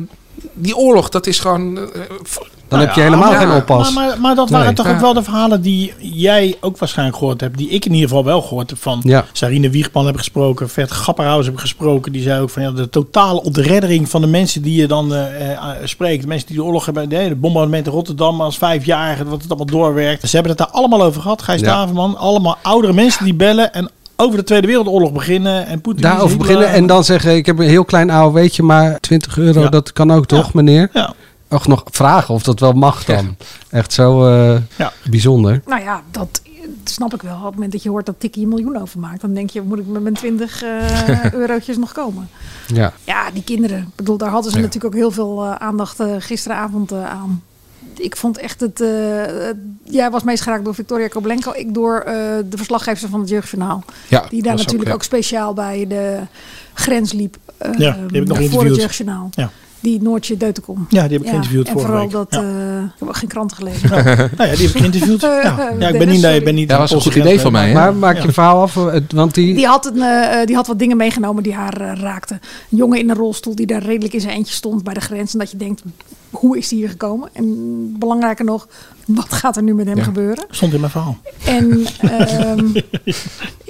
Speaker 7: die oorlog, dat is gewoon... eh, v-
Speaker 8: Dan heb je
Speaker 9: Nou ja,
Speaker 8: helemaal
Speaker 9: maar-
Speaker 8: geen oppas.
Speaker 9: Maar, maar, maar dat
Speaker 8: Nee.
Speaker 9: waren toch
Speaker 8: Ja.
Speaker 9: ook wel de verhalen die jij ook waarschijnlijk gehoord hebt. Die ik in ieder geval wel gehoord heb. Van
Speaker 8: Ja.
Speaker 9: Sarine Wiegman heb gesproken. Vert Grapperhaus heb gesproken. Die zei ook van ja, de totale ontreddering van de mensen die je dan eh, eh, spreekt. De mensen die de oorlog hebben. De, de bombardementen in Rotterdam als vijfjarige. Wat het allemaal doorwerkt. Ze hebben het daar allemaal over gehad. Gijs
Speaker 8: Ja.
Speaker 9: Daverman. Allemaal oudere mensen die bellen. En over de Tweede Wereldoorlog beginnen. En Poetin. is eh,
Speaker 8: Daarover
Speaker 9: Hitler.
Speaker 8: beginnen en dan zeggen: Ik heb een heel klein AOW'tje, maar 20 euro,
Speaker 9: Ja.
Speaker 8: dat kan ook toch, meneer?
Speaker 9: Ja.
Speaker 8: Och, nog vragen of dat wel mag dan. Echt zo eh, bijzonder.
Speaker 10: Nou ja, dat snap ik wel. Op het moment dat je hoort dat Tikkie een miljoen overmaakt, dan denk je, moet ik met mijn 20 eh eurotjes nog komen?
Speaker 8: Ja.
Speaker 10: Ja, die kinderen. Ik bedoel, daar hadden ze
Speaker 8: Ja.
Speaker 10: natuurlijk ook heel veel eh, aandacht eh, gisteravond eh, aan. Ik vond echt het... eh, het- jij was meest geraakt door Victoria Koblenko. Ik door eh, de verslaggever van het Jeugdjournaal.
Speaker 15: Ja,
Speaker 10: die
Speaker 15: was
Speaker 10: daar
Speaker 15: ook,
Speaker 10: natuurlijk ook,
Speaker 15: ja.
Speaker 10: speciaal bij de grens liep. eh,
Speaker 9: Ja, die heb ik nog
Speaker 10: voor
Speaker 9: geïnterviewd.
Speaker 10: het Jeugdjournaal.
Speaker 9: Ja.
Speaker 10: Die Noortje Deutenkom.
Speaker 9: Ja, die heb ik geïnterviewd
Speaker 10: en
Speaker 9: vorige
Speaker 10: vooral
Speaker 9: week.
Speaker 10: dat...
Speaker 9: Ja.
Speaker 10: eh, ik heb ook geen kranten gelezen.
Speaker 9: Nou, nou ja, die heb ik geïnterviewd. Ja. Ja, ik ben
Speaker 10: Dennis,
Speaker 9: niet- nee,
Speaker 10: sorry.
Speaker 9: ik ben niet-
Speaker 7: Dat was een goed idee van mij, hè?
Speaker 8: Maar maak
Speaker 9: Ja.
Speaker 8: je verhaal af, eh, want die,
Speaker 10: Die had, een, eh, eh, die had wat dingen meegenomen die haar eh, raakten. Een jongen in een rolstoel die daar redelijk in zijn eentje stond bij de grens. En dat je denkt, hoe is die hier gekomen? En belangrijker nog, wat gaat er nu met hem
Speaker 9: Ja.
Speaker 10: gebeuren?
Speaker 9: Stond in mijn verhaal.
Speaker 10: En ehm,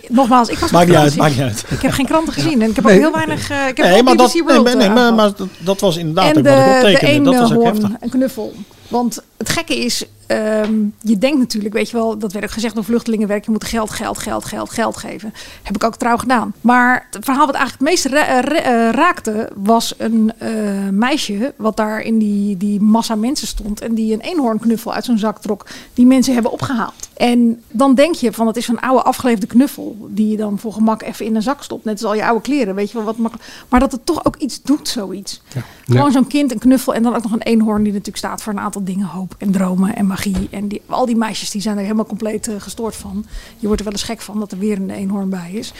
Speaker 10: nogmaals, ik was
Speaker 9: Maakt
Speaker 10: op
Speaker 9: niet uit,
Speaker 10: vakantie.
Speaker 9: maakt niet uit.
Speaker 10: Ik heb geen kranten gezien. En ik heb
Speaker 9: Nee.
Speaker 10: ook heel weinig... eh, ik heb
Speaker 9: nee,
Speaker 10: ook
Speaker 9: maar dat,
Speaker 10: BBC
Speaker 9: nee,
Speaker 10: World,
Speaker 9: maar, nee,
Speaker 10: eh,
Speaker 9: maar,
Speaker 10: aangehaald.
Speaker 9: maar dat, dat was inderdaad
Speaker 10: en
Speaker 9: ook wat ik
Speaker 10: de, de
Speaker 9: optekende. Dat was ook heftig.
Speaker 10: eenhoorn, een knuffel. Want het gekke is, ehm, je denkt natuurlijk, weet je wel, dat werd ook gezegd door vluchtelingenwerk, je moet geld, geld, geld, geld, geld geven. Heb ik ook trouw gedaan. Maar het verhaal wat eigenlijk het meest ra- eh, ra- eh, raakte, was een eh, meisje wat daar in die, die massa mensen stond en die een eenhoornknuffel uit zijn zak trok, die mensen hebben opgehaald. En dan denk je van, het is een oude afgeleefde knuffel die je dan voor gemak even in een zak stopt, net als al je oude kleren, weet je wel, wat makkelijk. Maar dat het toch ook iets doet, zoiets. Gewoon
Speaker 15: Ja.
Speaker 10: zo'n kind, een knuffel en dan ook nog een eenhoorn die natuurlijk staat voor een aantal dingen. Hoop en dromen en magie. En die, al die meisjes die zijn er helemaal compleet eh, gestoord van. Je wordt er wel eens gek van dat er weer een eenhoorn bij is.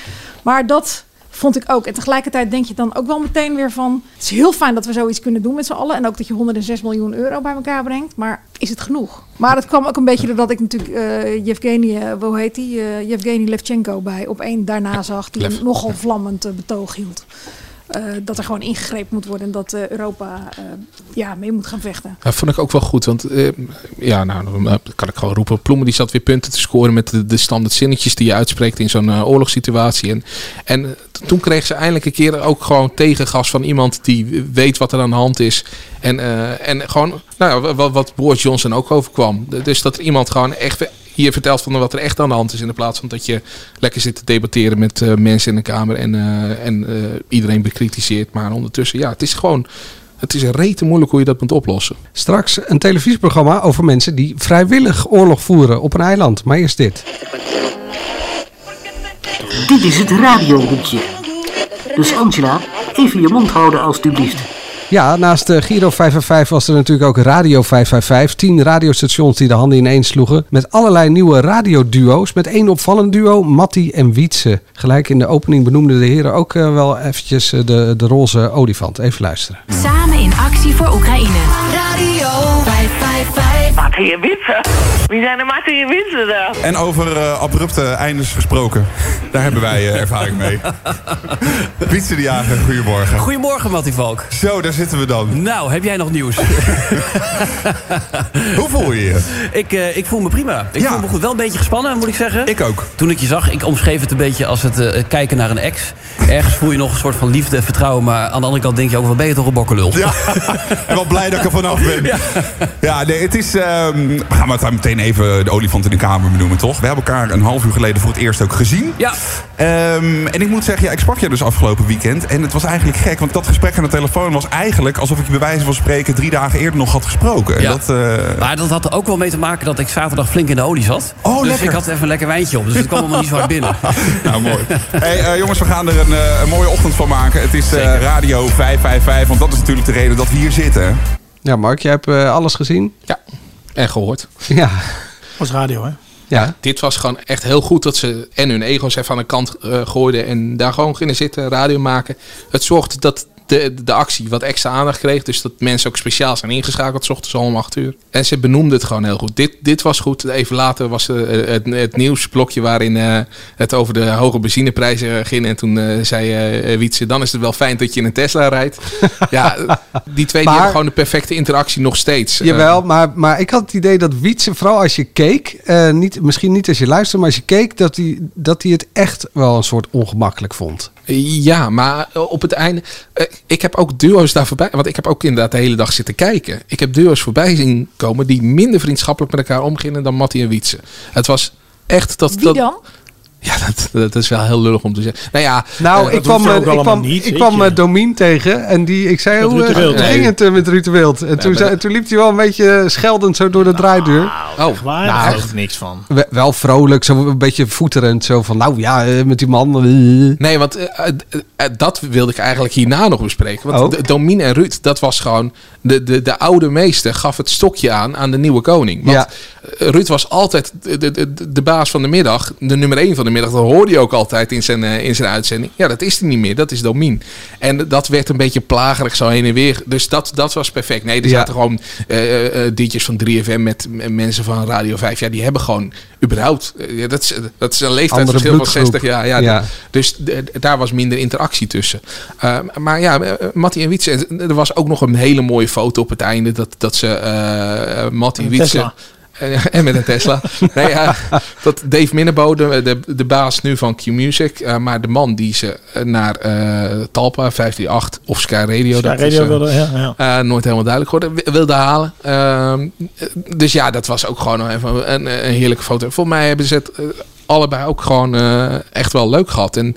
Speaker 10: Maar dat vond ik ook. En tegelijkertijd denk je dan ook wel meteen weer van... Het is heel fijn dat we zoiets kunnen doen met z'n allen. En ook dat je 106 miljoen euro bij elkaar brengt. Maar is het genoeg? Maar het kwam ook een beetje doordat ik natuurlijk eh Yevgeny, eh, hoe heet die? Eh, Yevgeny Levchenko bij op één daarna zag. Die
Speaker 15: Lev,
Speaker 10: een nogal vlammend eh, betoog hield. Eh, dat er gewoon ingegrepen moet worden en dat eh, Europa eh, ja, mee moet gaan vechten.
Speaker 7: Dat vond ik ook wel goed, want eh, ja, nou, dan eh, kan ik gewoon roepen. Ploemen die zat weer punten te scoren met de, de standaard zinnetjes die je uitspreekt in zo'n eh, oorlogssituatie. En, en eh, t- toen kreeg ze eindelijk een keer ook gewoon tegengas van iemand die weet wat er aan de hand is. En, eh, en gewoon, nou ja, wat, wat Boris Johnson ook overkwam. D- Dus dat iemand gewoon echt we- hier vertelt van wat er echt aan de hand is. In de plaats van dat je lekker zit te debatteren met eh, mensen in de Kamer en, eh, en eh, iedereen bekritiseert. Maar ondertussen, ja, het is gewoon... Het is rete moeilijk hoe je dat moet oplossen.
Speaker 8: straks een televisieprogramma over mensen die vrijwillig oorlog voeren op een eiland. Maar eerst dit.
Speaker 16: Dit is het radiohoekje. Dus Angela, even je mond houden alstublieft.
Speaker 8: Ja, naast eh, Giro 555 was er natuurlijk ook Radio 555. Tien radiostations die de handen ineen sloegen. Met allerlei nieuwe radioduo's. Met één opvallend duo, Matti en Wietse. Gelijk in de opening benoemden de heren ook eh, wel eventjes eh, de, de roze olifant. Even luisteren.
Speaker 17: Samen in actie voor Oekraïne. Radio 555.
Speaker 18: Martin en Witsen? Wie zijn de Martin en Witsen dan?
Speaker 19: En over eh, abrupte eindes gesproken. Daar hebben wij eh, ervaring mee. Pietse de Jager, goedemorgen.
Speaker 20: Goedemorgen, Mattie Valk.
Speaker 19: Zo, daar zitten we dan.
Speaker 20: Nou, heb jij nog nieuws?
Speaker 19: Hoe voel je je?
Speaker 20: Ik, eh, ik voel me prima. Ik
Speaker 19: Ja.
Speaker 20: voel me goed. Wel een beetje gespannen, moet ik zeggen.
Speaker 19: Ik ook.
Speaker 20: Toen ik je zag, ik omschreef het een beetje als het eh, kijken naar een ex. Ergens voel je nog een soort van liefde en vertrouwen. Maar aan de andere kant denk je ook, wat ben je toch een bokkelul.
Speaker 19: Ja, en wel blij dat ik er vanaf ben. Ja, nee, het is... ehm, we gaan maar meteen even de olifant in de kamer benoemen, toch? We hebben elkaar een half uur geleden voor het eerst ook gezien.
Speaker 20: Ja.
Speaker 19: Ehm, en ik moet zeggen, ja, ik sprak je dus afgelopen weekend. En het was eigenlijk gek, want dat gesprek aan de telefoon was eigenlijk... alsof ik je bij wijze van spreken drie dagen eerder nog had gesproken. En
Speaker 20: Ja.
Speaker 19: Dat, eh,
Speaker 20: Maar dat had er ook wel mee te maken dat ik zaterdag flink in de olie zat.
Speaker 19: Oh,
Speaker 20: dus
Speaker 19: lekker.
Speaker 20: ik had even een lekker wijntje op. Dus het kwam allemaal niet zo hard binnen.
Speaker 19: Nou, mooi. Hey, eh, jongens, we gaan er een, eh, een mooie ochtend van maken. Het is eh, Radio 555, want dat is natuurlijk de reden dat we hier zitten.
Speaker 8: Ja, Mark, jij hebt eh, alles gezien?
Speaker 7: Ja, en gehoord.
Speaker 8: Ja.
Speaker 9: was radio, hè?
Speaker 8: Ja.
Speaker 7: Dit was gewoon echt heel goed dat ze en hun ego's even aan de kant eh, gooiden en daar gewoon gingen zitten, radio maken. Het zorgde dat de, de actie wat extra aandacht kreeg. Dus dat mensen ook speciaal zijn ingeschakeld, s ochtends al om acht uur. En ze benoemde het gewoon heel goed. Dit, dit was goed. Even later was eh, het, het nieuwsblokje waarin eh, het over de hoge benzineprijzen ging. En toen eh, zei eh, Wietse, dan is het wel fijn dat je in een Tesla rijdt. ja, die twee die
Speaker 8: Maar-
Speaker 7: hebben gewoon de perfecte interactie nog steeds. Eh,
Speaker 8: Jawel, maar, maar ik had het idee dat Wietse, vooral als je keek, eh, niet, misschien niet als je luisterde, maar als je keek, dat hij dat hij het echt wel een soort ongemakkelijk vond.
Speaker 7: Ja, maar op het einde. eh, Ik heb ook duo's daar voorbij. Want ik heb ook inderdaad de hele dag zitten kijken. Ik heb duo's voorbij zien komen die minder vriendschappelijk met elkaar omgingen dan Mattie en Wietse. Het was echt dat.
Speaker 10: Wie
Speaker 7: dat
Speaker 10: dan?
Speaker 7: Ja, dat, dat is wel heel lullig om te zeggen. Nou ja,
Speaker 8: Nou,
Speaker 7: eh,
Speaker 8: ik kwam, eh, ik kwam, ik kwam eh, Domien tegen en die, ik zei,
Speaker 7: Met
Speaker 8: hoe
Speaker 7: Ruud de
Speaker 8: eh,
Speaker 7: Wild.
Speaker 8: ging
Speaker 7: Nee.
Speaker 8: het eh, met Ruud de Wild? En
Speaker 7: Nee,
Speaker 8: toen,
Speaker 7: maar
Speaker 8: zei-
Speaker 7: dat- Nou.
Speaker 8: toen liep hij wel een beetje eh, scheldend zo door de draaideur.
Speaker 7: Oh,
Speaker 9: Waar?
Speaker 8: Nou,
Speaker 9: Daar geloof
Speaker 8: echt.
Speaker 9: ik niks van.
Speaker 8: We- wel vrolijk, zo een beetje voeterend. Zo van, nou ja, eh, met die man. Hm.
Speaker 7: Nee, want eh, eh, eh, dat wilde ik eigenlijk hierna nog bespreken. Want
Speaker 8: Ook?
Speaker 7: D- Domien en Ruud, dat was gewoon... De, de, de oude meester gaf het stokje aan aan de nieuwe koning. Want eh, Ruud was altijd de, de, de, de baas van de middag. De nummer één van de middag. Dat hoorde je ook altijd in zijn, eh, in zijn uitzending. Ja, dat is hij niet meer. Dat is Domien. En dat werd een beetje plagerig zo heen en weer. Dus dat, dat was perfect. Nee, er
Speaker 8: Ja.
Speaker 7: zaten gewoon eh eh, DJ's van 3FM met eh, mensen van Radio 5. Ja, die hebben gewoon überhaupt... eh, ja, dat, is, dat is een leeftijdsverschil van
Speaker 8: bloedgroep.
Speaker 7: 60 jaar. Ja,
Speaker 8: Ja.
Speaker 7: dus d- d- daar was minder interactie tussen. Eh, maar ja, eh, Mattie en Wietse. en Er was ook nog een hele mooie foto op het einde. Dat, dat ze eh eh, Mattie en
Speaker 9: Met een
Speaker 7: Wietse. Eh,
Speaker 9: Tesla.
Speaker 7: En- En met een Tesla. nee, ja, dat Dave Minnebo, de, de, de baas nu van Q-Music. eh, maar de man die ze eh, naar eh, Talpa 538 of Sky Radio.
Speaker 9: Sky
Speaker 7: dat
Speaker 9: Radio
Speaker 7: eh,
Speaker 9: wilde, ja, ja.
Speaker 7: eh, nooit helemaal duidelijk geworden. wi- Wilde halen. Ehm, eh, dus ja, dat was ook gewoon nog even een, een heerlijke foto. Voor mij hebben ze het eh, allebei ook gewoon eh, echt wel leuk gehad. En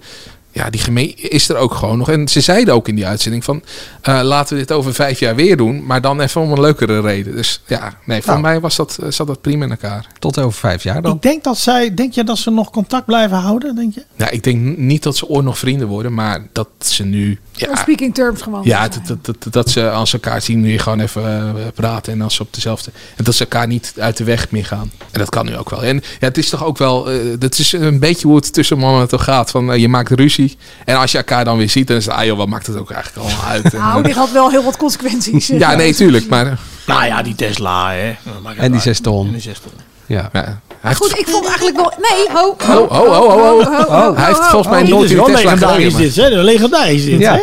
Speaker 7: ja, die gemeen is er ook gewoon nog. En ze zeiden ook in die uitzending van... eh, laten we dit over vijf jaar weer doen. Maar dan even om een leukere reden. Dus ja, nee, voor
Speaker 9: Nou.
Speaker 7: mij was dat, eh, zat dat prima in elkaar.
Speaker 8: Tot over vijf jaar
Speaker 9: Ik denk dat zij, denk je dat ze nog contact blijven houden, denk je?
Speaker 7: Nou, ik denk niet dat ze ooit nog vrienden worden. Maar dat ze nu...
Speaker 10: On
Speaker 7: Ja,
Speaker 10: speaking terms gewoon.
Speaker 7: Ja, dat, dat, dat, dat ze als ze elkaar zien, nu gewoon even eh, praten. En als ze op dezelfde. En dat ze elkaar niet uit de weg meer gaan. En dat kan nu ook wel. En ja, het is toch ook wel. eh, dat is een beetje hoe het tussen mannen toch gaat. Van eh, je maakt ruzie. En als je elkaar dan weer ziet, dan is het. Ah joh, wat maakt het ook eigenlijk allemaal uit? En,
Speaker 10: Nou,
Speaker 7: eh,
Speaker 10: dit had wel heel wat consequenties.
Speaker 7: ja, nee, tuurlijk. Maar. eh,
Speaker 9: Nou ja, die Tesla, hè. Dat maakt
Speaker 8: En die
Speaker 9: uit.
Speaker 8: zes ton.
Speaker 9: En die zes ton.
Speaker 8: Ja.
Speaker 7: Hij heeft,
Speaker 10: Goed, ik vond eigenlijk wel... Nee, ho.
Speaker 7: ho, ho, ho, ho, ho. Hij heeft volgens mij
Speaker 9: Dit
Speaker 7: nooit
Speaker 9: is
Speaker 7: in
Speaker 9: wel
Speaker 7: Tesla gereden,
Speaker 9: legendarisch
Speaker 7: maar-
Speaker 9: dit, hè. Legendarisch dit,
Speaker 7: Ja.
Speaker 9: hè.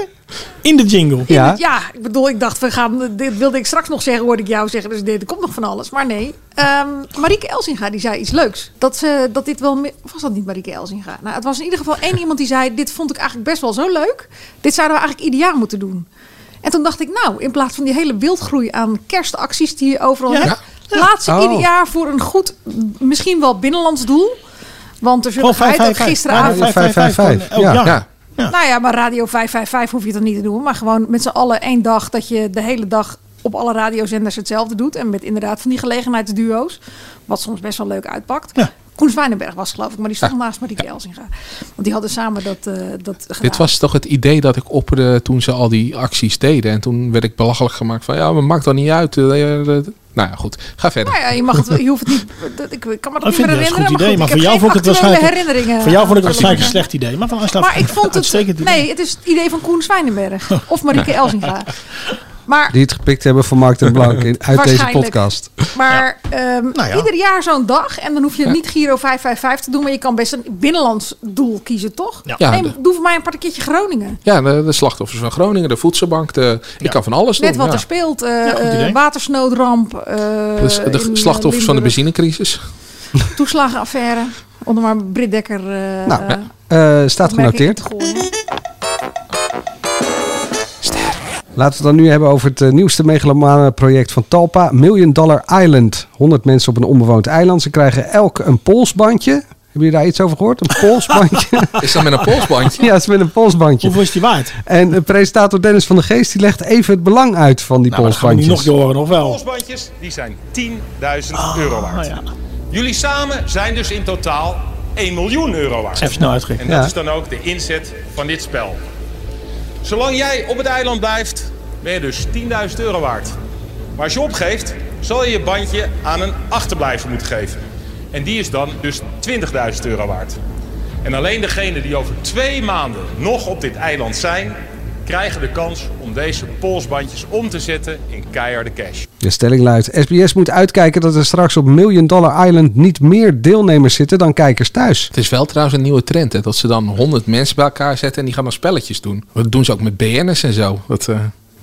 Speaker 9: In de jingle.
Speaker 10: Ja. ja, ik bedoel, ik dacht, we gaan, dit wilde ik straks nog zeggen, hoorde ik jou zeggen. Dus dit, er komt nog van alles. Maar nee, Ehm Marieke Elsinga die zei iets leuks. Dat, ze, dat dit wel... meer- Of was dat niet Marieke Elsinga? Nou, het was in ieder geval één iemand die zei... dit vond ik eigenlijk best wel zo leuk. Dit zouden we eigenlijk ieder jaar moeten doen. En toen dacht ik, nou, in plaats van die hele wildgroei aan kerstacties die je overal
Speaker 9: Ja.
Speaker 10: hebt... laat ze
Speaker 9: Oh.
Speaker 10: ieder jaar voor een goed, m- misschien wel binnenlands doel... Want er zullen
Speaker 9: Gewoon
Speaker 10: uit dat
Speaker 9: 555.
Speaker 10: gisteravond...
Speaker 9: Radio 555,
Speaker 8: Ja.
Speaker 9: elk jaar.
Speaker 8: Ja.
Speaker 10: Nou ja, maar Radio 555 hoef je dat niet te doen. Maar gewoon met z'n allen één dag dat je de hele dag op alle radiozenders hetzelfde doet. En met inderdaad van die gelegenheidsduo's. Wat soms best wel leuk uitpakt. Koen Zwijnenberg was het, geloof ik, maar die stond naast Marieke Elsinga. Want die hadden samen dat, eh, dat gedaan.
Speaker 7: Dit was toch het idee dat ik opperde toen ze al die acties deden. En toen werd ik belachelijk gemaakt van ja, maar maakt dat niet uit. Eh, eh, eh, nou ja, goed. Ga verder.
Speaker 10: Nou ja, je, mag het, wel- je hoeft het niet... dat- Ik, ik kan me dat
Speaker 9: Dat
Speaker 10: niet
Speaker 9: Oh,
Speaker 10: meer
Speaker 9: vind ik een
Speaker 10: herinneren.
Speaker 9: goed
Speaker 10: maar
Speaker 9: idee,
Speaker 10: goed,
Speaker 9: maar
Speaker 10: ik
Speaker 9: voor
Speaker 10: heb
Speaker 9: jou
Speaker 10: geen
Speaker 9: vond ik het
Speaker 10: actuele
Speaker 9: waarschijnlijk...
Speaker 10: herinneringen.
Speaker 9: Voor jou vond ik het waarschijnlijk een
Speaker 10: Gelukkig.
Speaker 9: slecht idee. Maar van Aslaaf,
Speaker 10: Maar ik vond
Speaker 9: uitstekend
Speaker 10: het...
Speaker 9: idee.
Speaker 10: Nee, het is het idee van Koen Zwijnenberg. Of Marieke Elsinga. Maar
Speaker 8: Die het gepikt hebben van Mark ten Blank in, uit deze
Speaker 10: Waarschijnlijk.
Speaker 8: podcast.
Speaker 10: Maar ehm,
Speaker 8: ja.
Speaker 10: ieder jaar zo'n dag. En dan hoef je
Speaker 8: Ja.
Speaker 10: niet Giro 555 te doen. Maar je kan best een binnenlands doel kiezen, toch?
Speaker 7: Ja. Ja,
Speaker 10: Neem-
Speaker 7: de-
Speaker 10: doe voor mij een partijtje Groningen.
Speaker 7: Ja, de, de slachtoffers van Groningen, de voedselbank. De, Ik kan van alles
Speaker 10: Net
Speaker 7: doen.
Speaker 10: wat
Speaker 7: ja.
Speaker 10: er speelt. eh,
Speaker 7: goed idee.
Speaker 10: eh, watersnoodramp. eh,
Speaker 7: Dus de
Speaker 10: in, eh,
Speaker 7: slachtoffers van de
Speaker 10: Limburg,
Speaker 7: benzinecrisis.
Speaker 10: Toeslagenaffaire. Onder maar Britt Dekker. eh,
Speaker 8: Nou,
Speaker 10: eh,
Speaker 8: ja. Eh, staat genoteerd.
Speaker 10: opmerking te gooien.
Speaker 8: Laten we het dan nu hebben over het eh, nieuwste megalomane project van Talpa. Million Dollar Island. 100 mensen op een onbewoond eiland. Ze krijgen elk een polsbandje. Hebben jullie daar iets over gehoord? Een polsbandje?
Speaker 7: Is dat met een polsbandje?
Speaker 8: ja, het is met een polsbandje.
Speaker 9: Hoeveel is die waard?
Speaker 8: En eh, presentator Dennis van der Geest die legt even het belang uit van die
Speaker 9: Nou, dat gaan we
Speaker 8: polsbandjes.
Speaker 9: niet nog horen, of wel? Nou
Speaker 4: Polsbandjes die zijn 10.000 euro waard. Jullie samen zijn dus in totaal 1 miljoen euro waard.
Speaker 9: Even snel uitgeven.
Speaker 4: En dat
Speaker 9: Ja.
Speaker 4: is dan ook de inzet van dit spel. Zolang jij op het eiland blijft, ben je dus 10.000 euro waard. Maar als je opgeeft, zal je je bandje aan een achterblijver moeten geven. En die is dan dus 20.000 euro waard. En alleen degenen die over twee maanden nog op dit eiland zijn, krijgen de kans om deze polsbandjes om te zetten in keiharde cash.
Speaker 8: De stelling luidt: SBS moet uitkijken dat er straks op Million Dollar Island niet meer deelnemers zitten dan kijkers thuis.
Speaker 7: Het is wel trouwens een nieuwe trend, hè, dat ze dan 100 mensen bij elkaar zetten en die gaan dan spelletjes doen. Dat doen ze ook met BN'ers en zo. Dat, eh,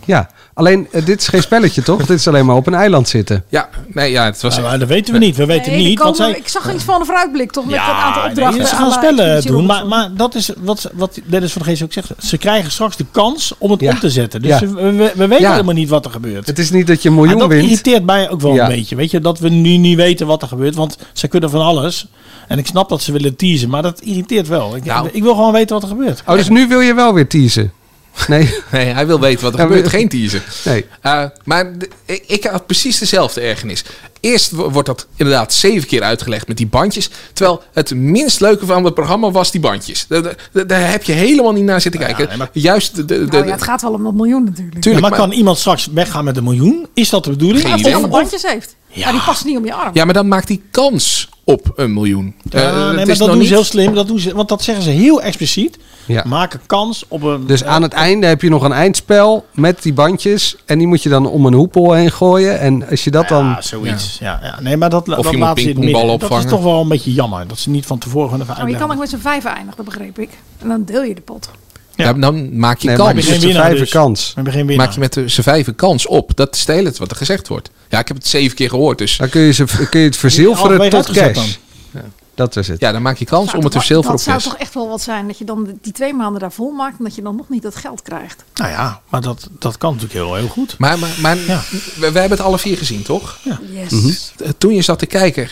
Speaker 8: Ja, alleen eh, dit is geen spelletje toch? dit is alleen maar op een eiland zitten.
Speaker 7: Ja, nee, ja, het was.
Speaker 8: Ja,
Speaker 9: maar dat weten we niet. We
Speaker 10: Nee, die komen- Ik zag iets van een vooruitblik, toch? Met een aantal opdrachten.
Speaker 9: nee, ze gaan
Speaker 10: aan de
Speaker 9: spellen
Speaker 10: Expeditie
Speaker 9: doen.
Speaker 10: Robinson.
Speaker 9: Maar, maar dat is wat, wat Dennis van de Geest ook zegt. Ze krijgen straks de kans om het om te zetten. Dus
Speaker 8: Ja.
Speaker 9: we, we, we weten
Speaker 8: Ja.
Speaker 9: helemaal niet wat er gebeurt.
Speaker 8: Het is niet dat je een
Speaker 9: En Ah,
Speaker 8: miljoen
Speaker 9: dat
Speaker 8: wint.
Speaker 9: irriteert mij ook wel
Speaker 8: Ja.
Speaker 9: een beetje. Weet je, dat we nu niet weten wat er gebeurt. Want ze kunnen van alles. En ik snap dat ze willen teasen. Maar dat irriteert wel. Ik,
Speaker 7: Nou.
Speaker 9: ik wil gewoon weten wat er gebeurt.
Speaker 8: Oh, dus nu wil je wel weer teasen? Nee.
Speaker 7: Nee, hij wil weten wat er
Speaker 8: Ja,
Speaker 7: gebeurt.
Speaker 8: maar-
Speaker 7: Geen teaser.
Speaker 8: Nee.
Speaker 7: Eh, maar d- ik, ik had precies dezelfde ergernis. Eerst wo- wordt dat inderdaad zeven keer uitgelegd met die bandjes. Terwijl het minst leuke van het programma was die bandjes. Da- da- da- Daar heb je helemaal niet naar zitten kijken. Juist de... de, de-
Speaker 10: Nou ja, het gaat wel om dat miljoen natuurlijk.
Speaker 7: Tuurlijk,
Speaker 9: Ja, maar,
Speaker 7: maar-
Speaker 9: kan iemand straks weggaan met een miljoen? Is dat de bedoeling?
Speaker 10: Ja,
Speaker 7: Geen
Speaker 10: Als
Speaker 7: idee.
Speaker 10: hij bandjes heeft. Ja. die past niet om je arm.
Speaker 7: Ja, maar dan maakt die kans op een miljoen.
Speaker 9: Ja,
Speaker 7: Eh, het
Speaker 9: nee, maar
Speaker 7: is
Speaker 9: dat
Speaker 7: nog
Speaker 9: doen
Speaker 7: niet-
Speaker 9: ze heel slim. Dat doen ze, want dat zeggen ze heel expliciet.
Speaker 8: Ja.
Speaker 9: Maak een kans op een...
Speaker 8: Dus aan het einde heb je nog een eindspel met die bandjes. En die moet je dan om een hoepel heen gooien. En als je dat dan.
Speaker 9: Ja, zoiets. Ja. Ja, Nee, maar dat,
Speaker 8: Of
Speaker 9: dat
Speaker 8: je moet
Speaker 9: laat ze in het midden.
Speaker 8: pingpongballen
Speaker 9: Dat is
Speaker 8: opvangen.
Speaker 9: toch wel een beetje jammer. Dat ze niet van tevoren gaan
Speaker 10: Maar Oh, je
Speaker 9: uitleggen.
Speaker 10: kan ook met z'n vijf eindigen, dat begreep ik. En dan deel je de pot.
Speaker 7: Ja, dan maak je
Speaker 8: Nee,
Speaker 7: kans.
Speaker 8: maak je met z'n vijven kans.
Speaker 9: dus. We hebben geen
Speaker 7: Maak je met de- z'n vijven kans op. Dat is het hele wat er gezegd wordt. Ja, ik heb het zeven keer gehoord. Dus.
Speaker 8: Dan kun je, ze, kun je het verzilveren
Speaker 7: Algemeen
Speaker 8: tot
Speaker 7: uitgezet
Speaker 8: cash. Dat is het.
Speaker 7: Ja, dan maak je kans
Speaker 10: Zou
Speaker 7: om het
Speaker 10: toch-
Speaker 7: verzilveren
Speaker 10: Nou, Dat
Speaker 7: op cash.
Speaker 10: zou toch echt wel wat zijn, dat je dan die twee maanden daar vol maakt... en dat je dan nog niet dat geld krijgt.
Speaker 9: Nou ja, maar dat, dat kan natuurlijk heel, heel goed.
Speaker 7: Maar, maar, maar we, we hebben het alle vier gezien, toch?
Speaker 10: Yes.
Speaker 7: Eh, Toen je zat te kijken,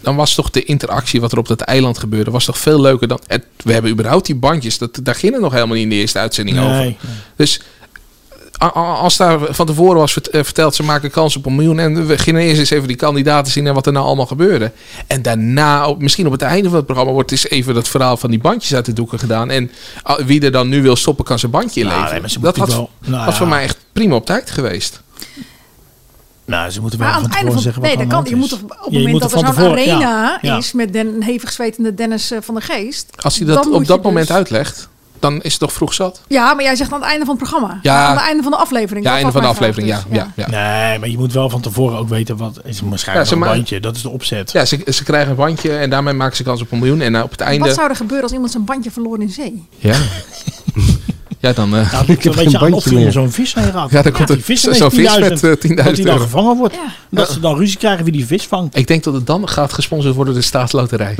Speaker 7: dan was toch de interactie wat er op dat eiland gebeurde, was toch veel leuker dan. Het, we hebben überhaupt die bandjes, dat, daar ging het nog helemaal niet in de eerste uitzending
Speaker 9: Nee,
Speaker 7: over.
Speaker 9: nee.
Speaker 7: Dus a- a- als daar van tevoren was vert- eh, verteld, ze maken kans op een miljoen en we gingen eerst eens even die kandidaten zien en wat er nou allemaal gebeurde. En daarna, op, misschien op het einde van het programma, wordt eens even dat verhaal van die bandjes uit de doeken gedaan. En ah, wie er dan nu wil stoppen, kan zijn bandje inleveren.
Speaker 9: nee, maar ze
Speaker 7: dat
Speaker 9: moeten
Speaker 7: had,
Speaker 9: wel- nou
Speaker 7: was voor
Speaker 9: ja.
Speaker 7: mij echt prima op tijd geweest.
Speaker 9: Nou, ze moeten wel
Speaker 10: Maar aan
Speaker 9: van
Speaker 10: het einde
Speaker 9: tevoren
Speaker 10: van...
Speaker 9: zeggen wat
Speaker 10: nee,
Speaker 9: er
Speaker 10: dat
Speaker 9: aan
Speaker 10: kan.
Speaker 9: de
Speaker 10: Je
Speaker 9: hand
Speaker 10: moet
Speaker 9: is.
Speaker 10: toch op
Speaker 9: Ja,
Speaker 10: het
Speaker 9: je moet
Speaker 10: moment dat
Speaker 9: er van
Speaker 10: er zo'n
Speaker 9: tevoren-
Speaker 10: arena
Speaker 9: ja, ja.
Speaker 10: is... met den, een hevig zwetende Dennis eh, van der Geest...
Speaker 7: Als hij dat
Speaker 10: dan
Speaker 7: op
Speaker 10: moet
Speaker 7: dat
Speaker 10: je
Speaker 7: moment
Speaker 10: dus-
Speaker 7: uitlegt, dan is het toch vroeg zat?
Speaker 10: Ja, maar jij zegt aan het einde van het programma.
Speaker 7: Ja.
Speaker 10: Aan het einde van de aflevering.
Speaker 7: Ja,
Speaker 10: Dat
Speaker 7: einde
Speaker 10: was
Speaker 7: van de
Speaker 10: mijn
Speaker 7: aflevering,
Speaker 10: vraag
Speaker 7: ja.
Speaker 10: dus.
Speaker 7: ja, ja.
Speaker 9: Nee, maar je moet wel van tevoren ook weten wat is waarschijnlijk
Speaker 7: Ja, ze
Speaker 9: een
Speaker 7: ma-
Speaker 9: bandje. Dat is de opzet.
Speaker 7: Ja, ze, ze krijgen een bandje en daarmee maken ze kans op een miljoen. En nou, op het einde...
Speaker 10: Wat zou er gebeuren als iemand zijn bandje verloor in zee?
Speaker 7: Ja. ja, dan... eh,
Speaker 9: Nou, ik heb een beetje aan opviel om zo'n vis heen raakt.
Speaker 7: Ja, dan komt
Speaker 9: die
Speaker 7: er
Speaker 9: vis
Speaker 7: zo-
Speaker 9: ineens
Speaker 7: zo'n vis met,
Speaker 9: 10.000,
Speaker 7: eh, 10.000
Speaker 9: Dat die dan
Speaker 7: euro.
Speaker 9: gevangen wordt. Dat ze dan ruzie krijgen wie die vis vangt.
Speaker 7: Ik denk dat het dan gaat gesponsord worden door de staatsloterij.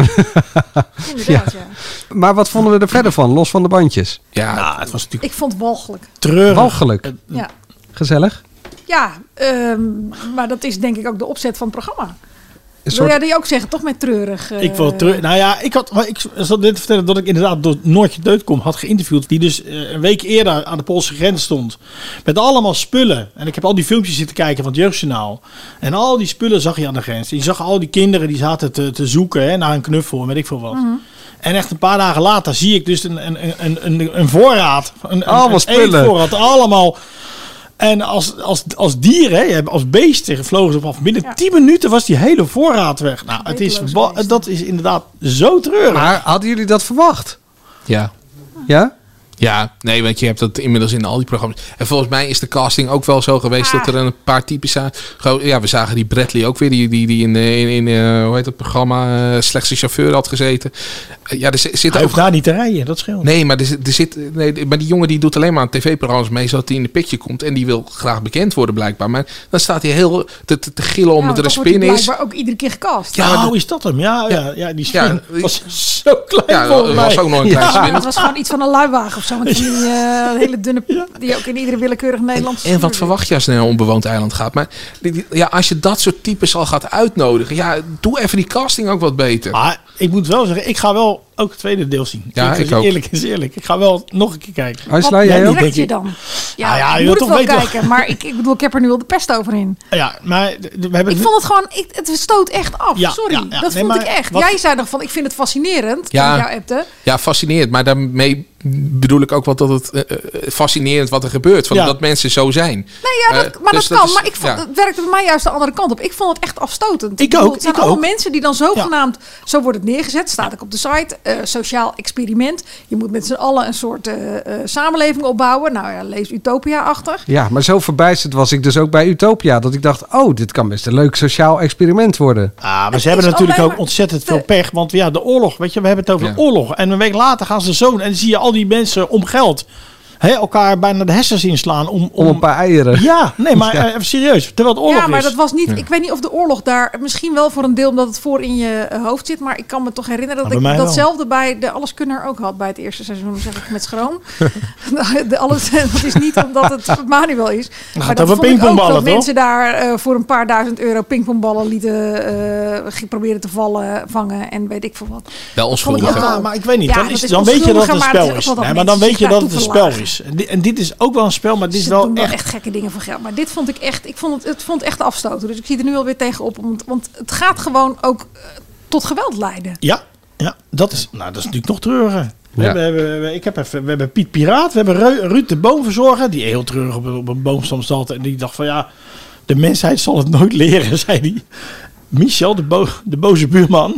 Speaker 8: Maar wat vonden we er verder van, los van de bandjes?
Speaker 7: Ja,
Speaker 9: Ah, het was natuurlijk
Speaker 10: Ik vond het walgelijk.
Speaker 9: treurig. Eh,
Speaker 8: Walgelijk.
Speaker 10: Ja,
Speaker 8: Gezellig.
Speaker 10: ja ehm, maar dat is denk ik ook de opzet van het programma.
Speaker 9: soort-
Speaker 10: Wil jij die ook zeggen? Toch met treurig. eh,
Speaker 9: Ik wil terug. Nou ja, ik had. maar Ik zat dit te vertellen dat ik inderdaad door Noortje Deutkom had geïnterviewd. Die dus eh, een week eerder aan de Poolse grens stond. Met allemaal spullen. En ik heb al die filmpjes zitten kijken van het Jeugdjournaal. En al die spullen zag je aan de grens. Je zag al die kinderen die zaten te, te zoeken hè, naar een knuffel en weet ik veel wat.
Speaker 10: Mhm.
Speaker 9: En echt een paar dagen later zie ik dus een, een, een, een, een voorraad. Een, een-
Speaker 8: Allemaal
Speaker 9: een
Speaker 8: spullen.
Speaker 9: eetvoorraad, allemaal. En als, als, als dier, hè, je hebt- als beesten vlogen ze op af. Binnen 10 minuten was die hele voorraad weg. Nou, het is, wa- dat is inderdaad zo treurig.
Speaker 8: Maar hadden jullie dat verwacht?
Speaker 7: Ja.
Speaker 8: Ja?
Speaker 7: Ja, nee, want je hebt dat inmiddels in al die programma's. En volgens mij is de casting ook wel zo geweest
Speaker 10: Ah.
Speaker 7: dat er een paar types zijn. Gewoon, ja, we zagen die Bradley ook weer, die, die, die in, eh, in, in eh, hoe heet dat programma, eh, slechtste chauffeur had gezeten. Eh, ja, er zi- zitten
Speaker 9: Hij
Speaker 7: ook...
Speaker 9: hoeft daar niet te rijden, dat
Speaker 10: Oh.
Speaker 9: scheelt.
Speaker 7: Nee, maar, er, zit- er zit, nee, maar die jongen die doet alleen maar aan tv-programma's mee, zodat hij in de picture komt. En die wil graag bekend worden blijkbaar. Maar dan staat hij heel te, te, te gillen
Speaker 10: ja,
Speaker 7: omdat er een
Speaker 10: want dan wordt
Speaker 7: spin
Speaker 10: die
Speaker 7: is.
Speaker 10: blijkbaar ook iedere keer gekast.
Speaker 9: Ja, hoe is dat hem? Ja, ja. ja, die spin
Speaker 7: Ja,
Speaker 9: was zo klein
Speaker 7: Ja, dat
Speaker 9: volgens mij.
Speaker 7: was ook nog een klein
Speaker 9: Ja.
Speaker 7: spin.
Speaker 10: Het was gewoon iets van een luiwagen of zo. Met van die eh, hele dunne... Die ook in iedere willekeurig Nederlandse...
Speaker 7: En wat verwacht je als je naar een onbewoond eiland gaat? Maar die- die- ja, als je dat soort types al gaat uitnodigen, ja, doe even die casting ook wat beter.
Speaker 9: Maar ik moet wel zeggen, ik ga wel ook het tweede deel zien.
Speaker 7: Ja,
Speaker 9: Eerlijk
Speaker 7: ik
Speaker 9: is
Speaker 7: ook. Ah.
Speaker 9: Eerlijk is eerlijk. Ik ga wel nog een keer kijken.
Speaker 10: Wat
Speaker 9: ook?
Speaker 10: trekt je dan? Ja,
Speaker 9: Nou ja, je
Speaker 10: je
Speaker 9: wilt
Speaker 10: moet het
Speaker 9: toch
Speaker 10: wel
Speaker 9: weten-
Speaker 10: kijken. Maar ik, ik bedoel, ik heb er nu al de pest over in.
Speaker 9: Ja, maar d- we hebben...
Speaker 10: Ik vond het gewoon, ik, het stoot echt af.
Speaker 9: Ja,
Speaker 10: Sorry,
Speaker 9: ja, ja.
Speaker 10: dat
Speaker 9: Nee,
Speaker 10: vond
Speaker 9: maar
Speaker 10: ik echt.
Speaker 9: wat-
Speaker 10: Jij zei nog van, ik vind het fascinerend.
Speaker 7: Ja.
Speaker 10: Ja. Jou appte.
Speaker 7: Ja, fascinerend. Maar daarmee bedoel ik ook wel dat het eh, eh, fascinerend wat er gebeurt. Van
Speaker 9: Ja.
Speaker 7: Dat mensen zo zijn.
Speaker 10: Nee, ja, dat,
Speaker 7: Eh,
Speaker 10: maar
Speaker 7: dus
Speaker 10: dat kan.
Speaker 7: is-
Speaker 10: maar ik vond,
Speaker 7: ja.
Speaker 10: het werkte bij mij juist de andere kant op. Ik vond het echt afstotend.
Speaker 9: Ik
Speaker 10: bedoel,
Speaker 9: ook,
Speaker 10: Het zijn
Speaker 9: ik
Speaker 10: allemaal
Speaker 9: ook.
Speaker 10: mensen die dan zogenaamd... Zo wordt het neergezet, staat ik op de site. eh, sociaal experiment. Je moet met z'n allen een soort eh, eh, samenleving opbouwen. Nou ja, lees Utopia-achtig.
Speaker 8: Ja, maar zo verbijsterd was ik dus ook bij Utopia. Dat ik dacht, oh, dit kan best een leuk sociaal experiment worden.
Speaker 9: Ah, maar ze hebben natuurlijk ook ontzettend veel pech. Want ja, de oorlog, weet je, we hebben het over
Speaker 8: Ja.
Speaker 9: oorlog. En een week later gaan ze zo en dan zie je al die mensen om geld hè, elkaar bijna de hersens inslaan. Om, om, een
Speaker 8: paar eieren.
Speaker 9: Ja, nee, maar
Speaker 8: Ja.
Speaker 9: eh, even serieus. Terwijl het oorlog
Speaker 10: ja, maar
Speaker 9: is.
Speaker 10: dat was niet. Ik weet niet of de oorlog daar misschien wel voor een deel omdat het voor in je eh, hoofd zit, maar ik kan me toch herinneren dat
Speaker 9: Nou, bij
Speaker 10: ik
Speaker 9: mij
Speaker 10: datzelfde bij de Alleskunner ook had bij het eerste seizoen, zeg ik met schroom. de alles, dat is niet omdat het Manuel is. maar
Speaker 9: gaat
Speaker 10: dat
Speaker 9: over
Speaker 10: vond ik ook
Speaker 9: pingpongballen,
Speaker 10: dat
Speaker 9: toch?
Speaker 10: mensen daar eh, voor een paar duizend euro pingpongballen lieten eh proberen te vallen, vangen en weet ik veel wat.
Speaker 7: Wel onschuldig.
Speaker 9: Ja, Ah, maar ik weet niet.
Speaker 10: Ja,
Speaker 9: dan
Speaker 10: dat
Speaker 9: is,
Speaker 10: is
Speaker 9: dan weet je dat het een
Speaker 10: onschuldiger, maar
Speaker 9: spel
Speaker 10: het is
Speaker 9: is.
Speaker 10: wel dat
Speaker 9: Nee, maar dan weet
Speaker 10: mensen
Speaker 9: je
Speaker 10: zich
Speaker 9: dat het een
Speaker 10: daartoe
Speaker 9: spel
Speaker 10: verlagen.
Speaker 9: is. En di- En dit is ook wel een spel, maar dit is
Speaker 10: Ze
Speaker 9: wel
Speaker 10: doen wel
Speaker 9: echt...
Speaker 10: echt gekke dingen voor geld. Maar dit vond ik echt, ik vond het, het vond echt afstoten. Dus ik zie er nu alweer tegenop. Want, want het gaat gewoon ook eh, tot geweld leiden.
Speaker 9: Ja, ja dat, is, nou, dat is natuurlijk nog treuriger. We,
Speaker 10: Ja.
Speaker 9: hebben, we hebben- ik heb even, we hebben Piet Piraat, we hebben Ru- Ruud de Boomverzorger... die heel treurig op, een- op een boomstam zat en die dacht van ja... de mensheid zal het nooit leren, zei hij. Michel, de, bo- de boze buurman.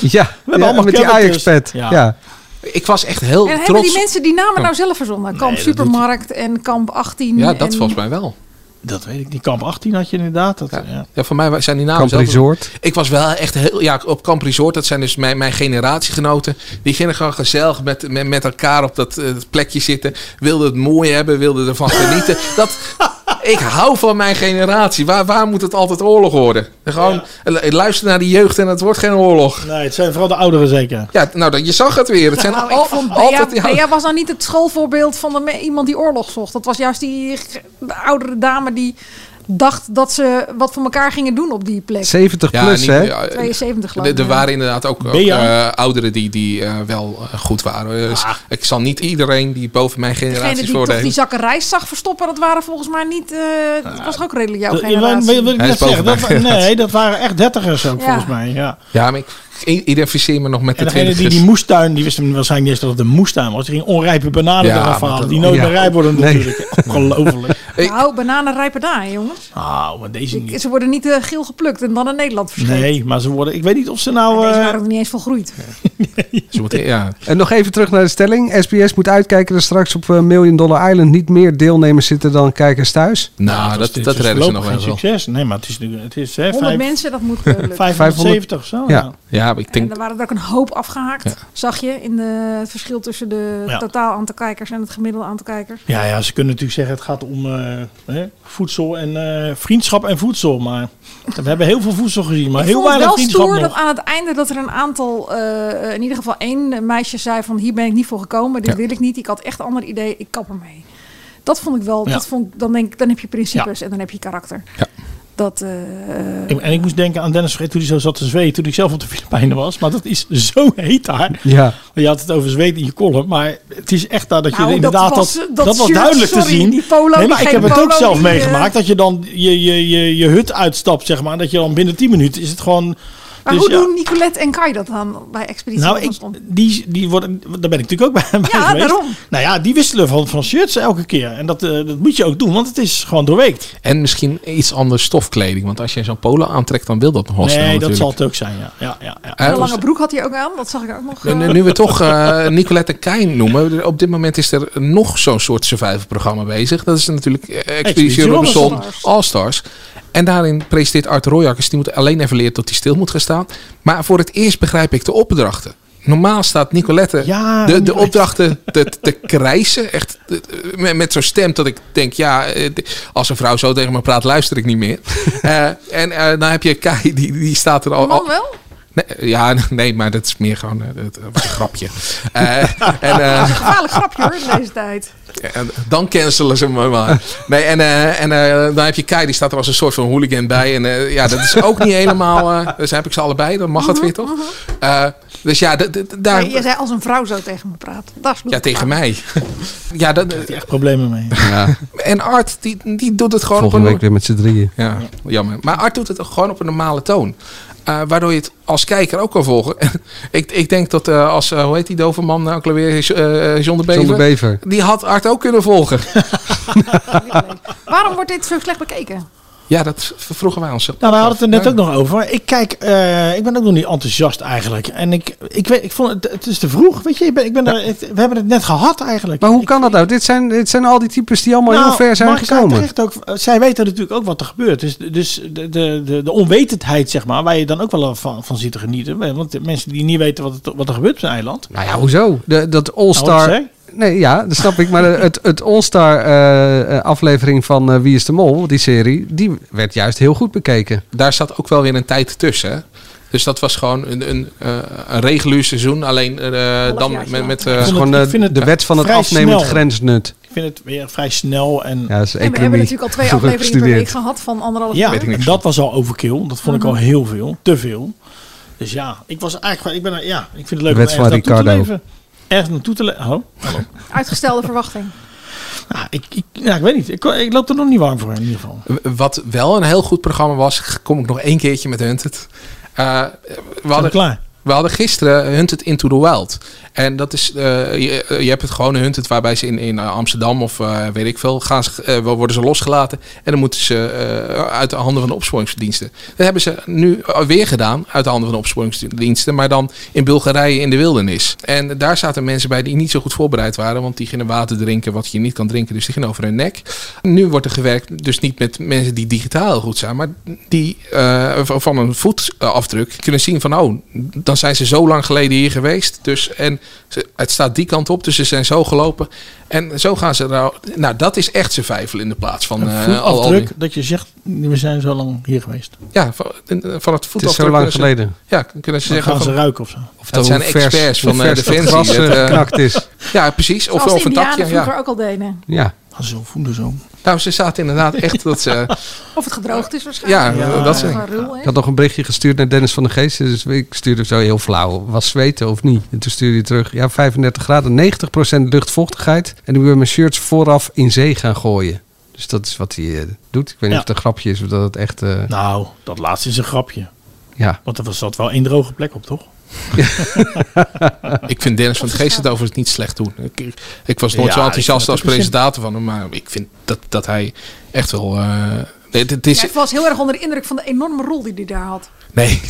Speaker 8: Ja,
Speaker 9: hebben allemaal
Speaker 8: met die
Speaker 9: characters.
Speaker 8: Ajax-pet.
Speaker 9: Ja.
Speaker 8: Ja.
Speaker 7: Nou, Ik was echt heel
Speaker 10: en hebben
Speaker 7: trots.
Speaker 10: die mensen die namen
Speaker 7: Oh.
Speaker 10: nou zelf verzonnen? Kamp
Speaker 7: Nee, dat doet-
Speaker 10: Supermarkt en Kamp 18.
Speaker 7: Ja, dat
Speaker 10: en...
Speaker 7: volgens mij wel.
Speaker 9: Dat weet ik niet. Kamp 18 had je inderdaad. Dat, ja.
Speaker 7: Ja, voor mij zijn die namen
Speaker 8: Kamp
Speaker 7: zelf-
Speaker 8: Resort.
Speaker 7: Ik was wel echt heel... Ja, op Camp Resort, dat zijn dus mijn, mijn generatiegenoten. Die gingen gewoon gezellig met, met, met elkaar op dat eh, plekje zitten. Wilden het mooi hebben, wilden ervan genieten. dat, ik hou van mijn generatie. Waar, waar moet het altijd oorlog worden? Gewoon eh, luister naar die jeugd en het wordt geen oorlog.
Speaker 9: Nee, het zijn vooral de ouderen zeker.
Speaker 7: Ja, nou, dat- je zag het weer. Het zijn
Speaker 10: Nou,
Speaker 7: al-
Speaker 10: ik vond
Speaker 7: altijd...
Speaker 10: Bea,
Speaker 7: ja,
Speaker 10: Bea was nou niet het schoolvoorbeeld van de me- iemand die oorlog zocht. Dat was juist die ge- de oudere dame die dacht dat ze wat voor elkaar gingen doen op die plek.
Speaker 8: 70
Speaker 7: Ja,
Speaker 8: plus,
Speaker 7: niet-
Speaker 8: hè?
Speaker 7: ja, eh,
Speaker 10: 72 geloof
Speaker 7: Er-
Speaker 10: ik.
Speaker 7: Er waren inderdaad ook, ook
Speaker 8: Bea.
Speaker 7: eh, ouderen die, die eh, wel eh, goed waren.
Speaker 9: Ah.
Speaker 7: Dus ik zal niet iedereen die boven mijn
Speaker 10: Degene
Speaker 7: generatie
Speaker 10: die toch die
Speaker 7: voordelen.
Speaker 10: zakken rijst zag verstoppen, dat waren volgens mij niet... eh dat was ook redelijk jouw
Speaker 9: Dat-
Speaker 10: generatie.
Speaker 9: wil- wil ik
Speaker 7: Hij
Speaker 9: net
Speaker 7: is
Speaker 9: zeggen,
Speaker 7: boven
Speaker 9: dat,
Speaker 7: mijn generatie.
Speaker 9: nee, dat waren echt dertigers ook
Speaker 10: Ja.
Speaker 9: volgens mij. Ja.
Speaker 7: Ja, maar ik i- identificeer me nog met
Speaker 9: En
Speaker 7: de
Speaker 9: degene die
Speaker 7: twintigers.
Speaker 9: die moestuin, die wisten waarschijnlijk niet eens dat het een moestuin was. Die ging onrijpe bananen
Speaker 7: Ja,
Speaker 9: eraf
Speaker 7: maar
Speaker 9: halen,
Speaker 7: dat-
Speaker 9: die nooit
Speaker 7: ja.
Speaker 9: meer rijp worden
Speaker 7: Nee.
Speaker 9: natuurlijk. Ongelooflijk.
Speaker 10: Nou, bananen rijpen daar, hè, jongens.
Speaker 9: Nou, maar deze niet.
Speaker 10: Ze worden niet eh, geel geplukt en dan in Nederland verscheept.
Speaker 9: Nee, maar ze worden, ik weet niet of ze nou...
Speaker 10: Deze
Speaker 9: eh,
Speaker 10: waren er niet eens volgroeid.
Speaker 8: En nog even terug naar de stelling. SBS moet uitkijken dat straks op eh, Million Dollar Island niet meer deelnemers zitten dan kijkers thuis.
Speaker 7: Nou, dat,
Speaker 9: dus dit
Speaker 7: dat
Speaker 9: is
Speaker 7: redden ze nog
Speaker 9: voorlopig
Speaker 7: wel.
Speaker 9: geen succes. Nee, maar het is, nu- het is hè,
Speaker 10: 100
Speaker 9: vijf-
Speaker 10: mensen, dat moet eh, lukken.
Speaker 9: 570 zo.
Speaker 7: Ja, ja maar ik
Speaker 10: En
Speaker 7: denk...
Speaker 10: er waren er ook een hoop afgehaakt, zag je, in de, het verschil tussen de
Speaker 9: Ja.
Speaker 10: totaal aantal kijkers en het gemiddelde aantal kijkers.
Speaker 9: Ja, ja, ze kunnen natuurlijk zeggen het gaat om eh, hè, voedsel en eh, vriendschap en voedsel. Maar we hebben heel veel voedsel gezien, maar
Speaker 10: ik
Speaker 9: heel
Speaker 10: vond het
Speaker 9: weinig
Speaker 10: wel
Speaker 9: vriendschap
Speaker 10: stoer
Speaker 9: nog.
Speaker 10: dat aan het einde dat er een aantal, eh, in ieder geval één meisje zei van hier ben ik niet voor gekomen, dit
Speaker 9: Ja.
Speaker 10: wil ik niet, ik had echt een ander idee, ik kap ermee. Dat vond ik wel,
Speaker 9: Ja.
Speaker 10: dat vond, ik- dan denk ik, dan heb je principes en dan heb je karakter. Dat, eh,
Speaker 9: Ik- en ik moest denken aan Dennis Vergeet toen hij zo zat te zweten toen ik zelf op de Filipijnen was. Maar dat is zo heet daar.
Speaker 8: Ja.
Speaker 9: Je had het over zweet in je column, maar het is echt daar dat je
Speaker 10: Nou,
Speaker 9: inderdaad
Speaker 10: dat
Speaker 9: dat
Speaker 10: was-
Speaker 9: was,
Speaker 10: dat
Speaker 9: dat, was
Speaker 10: shirt,
Speaker 9: duidelijk te
Speaker 10: sorry,
Speaker 9: zien.
Speaker 10: die polo,
Speaker 9: nee, maar
Speaker 10: die
Speaker 9: ik heb
Speaker 10: gele
Speaker 9: het ook
Speaker 10: polo,
Speaker 9: zelf
Speaker 10: die, eh,
Speaker 9: meegemaakt dat je dan je, je, je, je hut uitstapt zeg maar, en dat je dan binnen 10 minuten is het gewoon.
Speaker 10: maar
Speaker 9: dus
Speaker 10: hoe
Speaker 9: ja.
Speaker 10: doen Nicolette en Kai dat dan bij Expeditie
Speaker 9: Nou, ik,
Speaker 10: Robinson?
Speaker 9: die, die worden, daar ben ik natuurlijk ook bij, bij
Speaker 10: Ja,
Speaker 9: geweest.
Speaker 10: daarom.
Speaker 9: Nou ja, die wisselen van, van shirts elke keer. En dat, eh, dat moet je ook doen, want het is gewoon doorweekt.
Speaker 7: En misschien iets anders stofkleding. Want als je zo'n polo aantrekt, dan wil dat nog wel
Speaker 9: nee,
Speaker 7: snel
Speaker 9: dat
Speaker 7: nou natuurlijk.
Speaker 9: zal het ook zijn, ja. ja, ja, ja.
Speaker 7: Eh,
Speaker 10: een lange broek had hij ook aan, dat zag ik ook nog.
Speaker 7: Nu,
Speaker 10: eh,
Speaker 7: nu- nu we toch eh Nicolette en Kein noemen. er- Op dit moment is er nog zo'n soort survival-programma bezig. Dat is natuurlijk eh, Expeditie
Speaker 9: Expeditie
Speaker 7: Robinson
Speaker 9: Robinson.
Speaker 7: All-Stars. En daarin presenteert Art Royakkers. Die moet alleen even leren dat hij stil moet gaan staan. Maar voor het eerst begrijp ik de opdrachten. Normaal staat Nicolette de, de opdrachten te, te krijsen. Echt eh, met, met zo'n stem dat ik denk, ja, eh, d- als een vrouw zo tegen me praat, luister ik niet meer. Eh, en eh, dan heb je Kai, die, die staat er al...
Speaker 10: man
Speaker 7: al-
Speaker 10: wel?
Speaker 7: Nee, eh, ja, nee, maar dat is meer gewoon eh, het was een grapje. Eh, en, eh,
Speaker 10: Gevaarlijk grapje hoor, in deze tijd.
Speaker 7: en dan cancelen ze me maar. Nee, en, eh, en eh, dan heb je Kai, die staat er als een soort van hooligan bij. En eh, ja, dat is ook niet helemaal... eh, dus heb ik ze allebei, dan mag het weer toch? Eh, dus ja, d- d- daar...
Speaker 10: Nee, je zei als een vrouw zo tegen me praat. Dat is
Speaker 7: Ja, tegen mij. Ja, dat...
Speaker 9: echt problemen mee.
Speaker 7: En Art, die, die doet het gewoon
Speaker 8: Volgende
Speaker 7: op een...
Speaker 8: week weer met z'n drieën.
Speaker 7: Ja, jammer. Maar Art doet het ook gewoon op een normale toon. Eh, waardoor je het als kijker ook kan volgen. ik, ik denk dat eh, als, eh, hoe heet die dove man nou ook alweer, eh, John de Bever.
Speaker 8: John de Bever.
Speaker 7: Die had Art ook kunnen volgen.
Speaker 10: Waarom wordt dit zo slecht bekeken?
Speaker 7: Ja, dat v- vroegen wij ons.
Speaker 9: Nou, we hadden het er net ook nog over. Maar ik kijk, eh, ik ben ook nog niet enthousiast eigenlijk. En ik, ik, weet, ik vond het, het is te vroeg. Weet je, ik ben, ik ben er- het- we hebben het net gehad eigenlijk. Nou,
Speaker 8: Maar hoe kan dat nou? Dit zijn, dit zijn al die types die
Speaker 10: Nou,
Speaker 8: allemaal heel ver zijn
Speaker 9: Mark zei
Speaker 8: gekomen.
Speaker 9: terecht ook, eh, zij weten natuurlijk ook wat er gebeurt. Dus, dus de, de, de, de onwetendheid, zeg maar, waar je dan ook wel van, van ziet te genieten. Want de mensen die niet weten wat, het, wat er gebeurt op zijn eiland.
Speaker 8: Nou ja, hoezo? De, dat All-Star...
Speaker 9: Nou, wat ik
Speaker 8: nee, ja, dat snap ik. Maar het, het All-Star eh, eh, aflevering van eh, Wie is de Mol, die serie, die werd juist heel goed bekeken.
Speaker 7: Daar zat ook wel weer een tijd tussen. hè. Dus dat was gewoon een, een, eh, een regulier seizoen. Alleen eh, dan met... met eh,
Speaker 8: Dat is gewoon
Speaker 7: eh,
Speaker 8: eh, de wet van het
Speaker 9: vrij
Speaker 8: afnemend
Speaker 9: snel.
Speaker 8: grensnut.
Speaker 9: Ik vind het weer vrij snel. En,
Speaker 8: Ja, dat is
Speaker 10: En we hebben natuurlijk al twee afleveringen per week
Speaker 8: Gestudeerd.
Speaker 10: gehad van anderhalf
Speaker 9: Ja,
Speaker 10: uur.
Speaker 9: en dat was al overkill. Dat vond ik al
Speaker 10: Mhm.
Speaker 9: heel veel. Te veel. Dus ja, ik was eigenlijk... gewoon- Ik, ben, er- ja, ik vind het leuk om
Speaker 8: Wet
Speaker 9: ergens
Speaker 8: van
Speaker 9: naartoe te
Speaker 8: Ricardo.
Speaker 9: leven. Ergens naartoe te leven. Hallo? Hallo?
Speaker 10: Uitgestelde verwachting.
Speaker 9: nou, ik, ik, ja, ik weet niet. Ik, ik loop er nog niet warm voor in ieder geval.
Speaker 7: Wat wel een heel goed programma was, kom ik nog één keertje met Hunted. Eh, we, hadden,
Speaker 9: klaar?
Speaker 7: we hadden gisteren Hunted Into the Wild. En dat is, eh, je, eh, je hebt het gewoon Hunted waarbij ze in, in eh, Amsterdam of eh, weet ik veel, gaan ze, eh, worden ze losgelaten. En dan moeten ze eh, uit de handen van de opsporingsdiensten. Dat hebben ze nu eh, weer gedaan, uit de handen van de opsporingsdiensten. Maar dan in Bulgarije in de wildernis. En daar zaten mensen bij die niet zo goed voorbereid waren. Want die gingen water drinken wat je niet kan drinken. Dus die gingen over hun nek. Nu wordt er gewerkt dus niet met mensen die digitaal heel goed zijn. Maar die eh, van van een voetafdruk kunnen zien van... oh, dan zijn ze zo lang geleden hier geweest. Dus, en ze- het staat die kant op. Dus ze zijn zo gelopen. En zo gaan ze... Nou, nou dat is echt survival in de plaats van... eh, al- al die-
Speaker 9: Voetafdruk dat je zegt, we zijn zo lang hier geweest.
Speaker 7: ja, van, eh, van het voetafdruk.
Speaker 8: Het is zo lang
Speaker 7: kunnen ze-
Speaker 8: geleden.
Speaker 7: Ja, kunnen ze
Speaker 9: Dan
Speaker 7: zeggen...
Speaker 9: gaan ze
Speaker 7: van-
Speaker 9: ruiken of zo. Of
Speaker 7: dat
Speaker 8: hoe
Speaker 7: zijn
Speaker 8: vers-
Speaker 7: experts
Speaker 8: hoe
Speaker 7: van eh,
Speaker 8: vers dat
Speaker 7: Defensie.
Speaker 8: gras, eh,
Speaker 7: dat, eh,
Speaker 8: geknakt is.
Speaker 7: Ja, precies. Of,
Speaker 10: Zoals
Speaker 7: of
Speaker 10: de
Speaker 7: een
Speaker 10: Indianen
Speaker 7: takje.
Speaker 10: vroeger
Speaker 7: Ja.
Speaker 10: ook al deden.
Speaker 8: Ja.
Speaker 9: Zo voelen zo.
Speaker 7: Nou, ze zaten inderdaad echt dat ze...
Speaker 10: Of het gedroogd is waarschijnlijk.
Speaker 7: Ja, Ja, dat is-
Speaker 10: Gewoon ruw, hè?
Speaker 8: Ik had nog een berichtje gestuurd naar Dennis van de Geest. Dus ik stuurde zo heel flauw. Was zweten of niet? En toen stuurde hij terug. Ja, 35 graden, 90% luchtvochtigheid. En ik wil mijn shirts vooraf in zee gaan gooien. Dus dat is wat hij eh, doet. Ik weet niet
Speaker 9: Ja.
Speaker 8: of het een grapje is of dat het echt... eh,
Speaker 9: Nou, dat laatste is een grapje.
Speaker 8: Ja.
Speaker 9: Want er zat wel één droge plek op, toch?
Speaker 7: Ik vind Dennis van het Geest het overigens niet slecht doen. Ik, ik was nooit
Speaker 9: Ja,
Speaker 7: zo
Speaker 9: ik
Speaker 7: enthousiast
Speaker 9: vind
Speaker 7: als
Speaker 9: het ook een
Speaker 7: presentator van hem. Maar ik vind dat, dat hij echt wel... eh, nee, het, het is,
Speaker 10: Ja, ik was heel erg onder de indruk van de enorme rol die hij daar had.
Speaker 7: nee,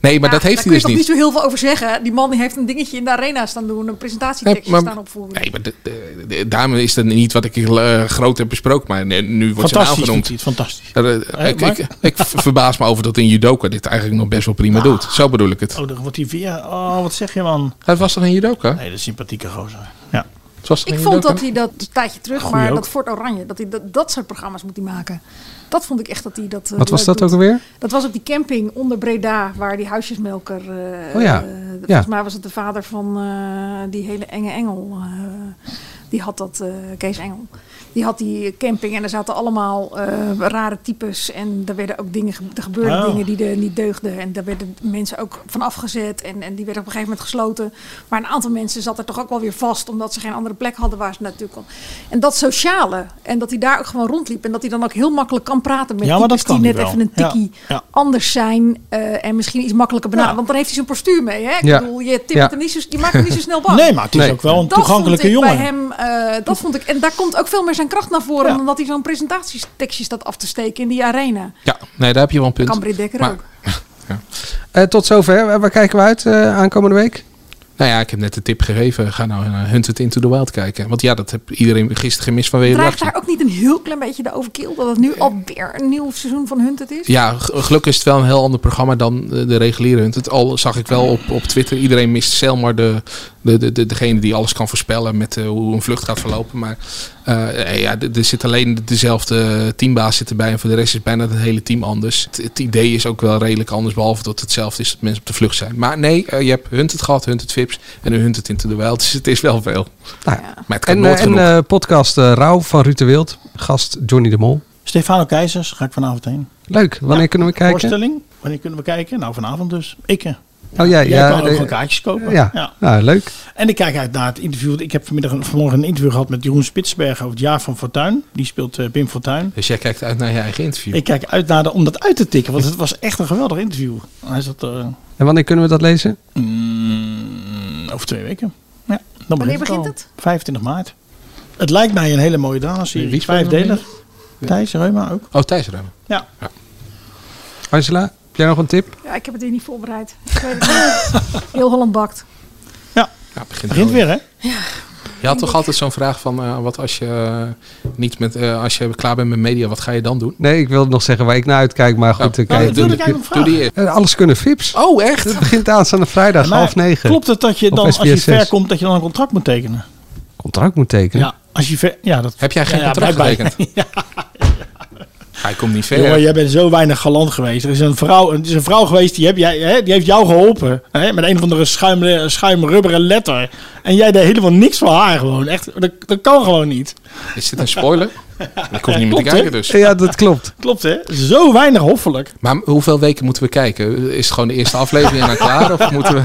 Speaker 7: nee, maar
Speaker 10: Ja,
Speaker 7: dat heeft
Speaker 10: daar
Speaker 7: hij dus
Speaker 10: kun je toch
Speaker 7: niet.
Speaker 10: niet zo heel veel over zeggen. Die man die heeft een dingetje in de arena staan doen. Een presentatietekstje
Speaker 7: Nee, maar-
Speaker 10: staan opvoeren.
Speaker 7: Nee, maar de, de- de- daarom is dat niet wat ik eh, groot heb besproken. Maar nee, nu wordt zijn
Speaker 9: Fantastisch
Speaker 7: naam
Speaker 9: doet
Speaker 7: genoemd.
Speaker 9: hij het, fantastisch.
Speaker 7: Ja, dat-
Speaker 9: Hè,
Speaker 7: ik,
Speaker 9: Mark?
Speaker 7: ik, ik verbaas me over dat een judoka dit eigenlijk nog best wel prima doet. Zo bedoel ik het.
Speaker 9: Oh, dan wordt hij weer... Oh, wat zeg je, man?
Speaker 7: Het was toch een judoka?
Speaker 9: Nee, de sympathieke gozer.
Speaker 7: Het was toch
Speaker 10: ik
Speaker 7: een
Speaker 10: vond
Speaker 7: judoka?
Speaker 10: dat hij dat een tijdje terug,
Speaker 7: Goeie
Speaker 10: maar
Speaker 7: ook.
Speaker 10: dat Fort Oranje, dat hij dat, dat soort programma's moet hij maken. Dat vond ik echt dat hij dat. eh,
Speaker 8: Wat was
Speaker 10: leuk
Speaker 8: dat
Speaker 10: doet.
Speaker 8: ook alweer?
Speaker 10: Dat was op die camping onder Breda, waar die huisjesmelker. eh,
Speaker 8: Oh ja, ja.
Speaker 10: eh, Volgens mij was het de vader van eh, die hele enge engel. eh, die had dat, eh, Kees Engel. Die had die camping en er zaten allemaal eh, rare types. En daar werden ook dingen, ge- er gebeurden
Speaker 15: Oh.
Speaker 10: dingen die er niet deugden. En daar werden mensen ook van afgezet. En, en die werden op een gegeven moment gesloten. Maar een aantal mensen zat er toch ook wel weer vast. Omdat ze geen andere plek hadden waar ze naartoe kon. En dat sociale. En dat hij daar ook gewoon rondliep. En dat hij dan ook heel makkelijk kan praten met
Speaker 9: Ja, maar
Speaker 10: types
Speaker 9: dat kan
Speaker 10: die
Speaker 9: hij
Speaker 10: net
Speaker 9: wel.
Speaker 10: even een
Speaker 9: Ja,
Speaker 10: tikkie
Speaker 9: ja.
Speaker 10: anders zijn. eh, en misschien iets makkelijker benaderen. Want daar heeft hij zijn postuur mee. Hè? Ik
Speaker 9: Ja.
Speaker 10: bedoel, je, tipt
Speaker 9: Ja.
Speaker 10: hem niet zo, je maakt hem niet zo snel bang.
Speaker 9: Nee, maar het is ook wel een
Speaker 10: Dat
Speaker 9: toegankelijke
Speaker 10: vond ik
Speaker 9: jongen.
Speaker 10: Bij hem, eh, dat vond ik. En daar komt ook veel meer zijn kracht naar voren.
Speaker 9: Ja.
Speaker 10: dan dat hij zo'n presentatietekstje staat af te steken in die arena.
Speaker 7: Ja, nee, daar heb je wel een punt.
Speaker 10: Kan Britt Dekker
Speaker 7: Maar-
Speaker 10: ook.
Speaker 8: Eh, tot zover. Waar waar kijken we uit eh, aankomende week?
Speaker 7: Nou ja, ik heb net de tip gegeven. Ga nou naar Hunted Into the Wild kijken. Want ja, dat heb iedereen gisteren gemist vanwege de
Speaker 10: Dreigt
Speaker 7: reactie.
Speaker 10: daar ook niet een heel klein beetje de overkill? Dat het nu alweer een nieuw seizoen van Hunted is?
Speaker 7: Ja, g- gelukkig is het wel een heel ander programma dan eh, de reguliere Hunted. Al zag ik wel op, op Twitter, iedereen mist Selmar, de, de, de, de- degene die alles kan voorspellen met eh, hoe een vlucht gaat verlopen. Maar eh, ja, d- er zit alleen de- dezelfde teambaas zit erbij en voor de rest is bijna het hele team anders. Het, het idee is ook wel redelijk anders, behalve dat hetzelfde is dat mensen op de vlucht zijn. Maar nee, eh, je hebt Hunted gehad, Hunted Vips en nu Hunted Into the Wild, dus het is wel veel.
Speaker 9: Nou
Speaker 7: Maar het kan
Speaker 8: En,
Speaker 7: nooit
Speaker 8: eh, en
Speaker 7: genoeg.
Speaker 8: eh, podcast eh, Rauw van Ruud de Wild. Gast Johnny de Mol.
Speaker 9: Stefano Keizers, ga ik vanavond heen.
Speaker 8: Leuk. Wanneer kunnen we kijken?
Speaker 9: Voorstelling, wanneer kunnen we kijken? Nou, vanavond dus. Ik. eh.
Speaker 8: Oh ja,
Speaker 9: Jij
Speaker 8: ja,
Speaker 9: kan ook
Speaker 8: eh,
Speaker 9: gewoon kaartjes kopen.
Speaker 8: Ja. Nou, leuk.
Speaker 9: En ik kijk uit naar het interview. want Ik heb vanmiddag een- vanmorgen een interview gehad met Jeroen Spitsbergen over het jaar van Fortuin. Die speelt eh Pim Fortuyn.
Speaker 7: Dus jij kijkt uit naar je eigen interview.
Speaker 9: Ik kijk uit naar de, om dat uit te tikken, want het was echt een geweldig interview. Hij zat eh,
Speaker 8: En wanneer kunnen we dat lezen?
Speaker 9: over twee weken. Ja, dan
Speaker 10: Wanneer
Speaker 9: begint
Speaker 10: begint
Speaker 9: het? al. 25 maart. Het lijkt mij een hele mooie drama-serie.
Speaker 8: Wie speelt er
Speaker 9: Vijfdelig. Thijs Reuma ook.
Speaker 7: Oh, Thijs Reuma.
Speaker 9: Ja.
Speaker 8: Angela, heb jij nog een tip?
Speaker 10: Ja, ik heb het hier niet voorbereid. Ik weet het niet. Heel Holland bakt.
Speaker 7: Ja, begint,
Speaker 9: Begint weer, hè?
Speaker 7: Je had toch altijd zo'n vraag van, eh, wat als je, eh, niet met, eh, als je klaar bent met media, wat ga je dan doen?
Speaker 8: Nee, ik wilde nog zeggen waar ik naar uitkijk, maar goed. ik
Speaker 7: Nou, dat wilde ik eigenlijk nog
Speaker 8: doe die eerst. Eh, Alles kunnen vips.
Speaker 7: Oh, echt?
Speaker 8: Het begint aanstaande vrijdag,
Speaker 9: Maar
Speaker 8: half negen.
Speaker 9: Klopt het dat je
Speaker 8: Op
Speaker 9: dan, als je
Speaker 8: SBS6
Speaker 9: ver komt, dat je dan een contract moet tekenen?
Speaker 8: contract moet tekenen?
Speaker 9: Ja. Als je ver, ja, dat,
Speaker 7: Heb jij geen
Speaker 9: ja,
Speaker 7: contract
Speaker 9: blijkbaar.
Speaker 7: getekend? Hij komt niet
Speaker 9: Jongen,
Speaker 7: verder.
Speaker 9: jij bent zo weinig galant geweest. Er is een vrouw, er is een vrouw geweest die, heb jij, hè, die heeft jou geholpen. Hè, met een of andere schuim, schuimrubberen letter. En jij deed helemaal niks voor haar gewoon. Echt, dat, dat kan gewoon niet.
Speaker 7: Is dit een spoiler? Ik hoef niet meer
Speaker 9: Klopt,
Speaker 7: te
Speaker 9: hè?
Speaker 7: kijken dus.
Speaker 8: Ja, dat klopt.
Speaker 9: Klopt hè? Zo weinig hoffelijk.
Speaker 7: Maar hoeveel weken moeten we kijken? Is het gewoon de eerste aflevering en dan klaar? Of moeten we...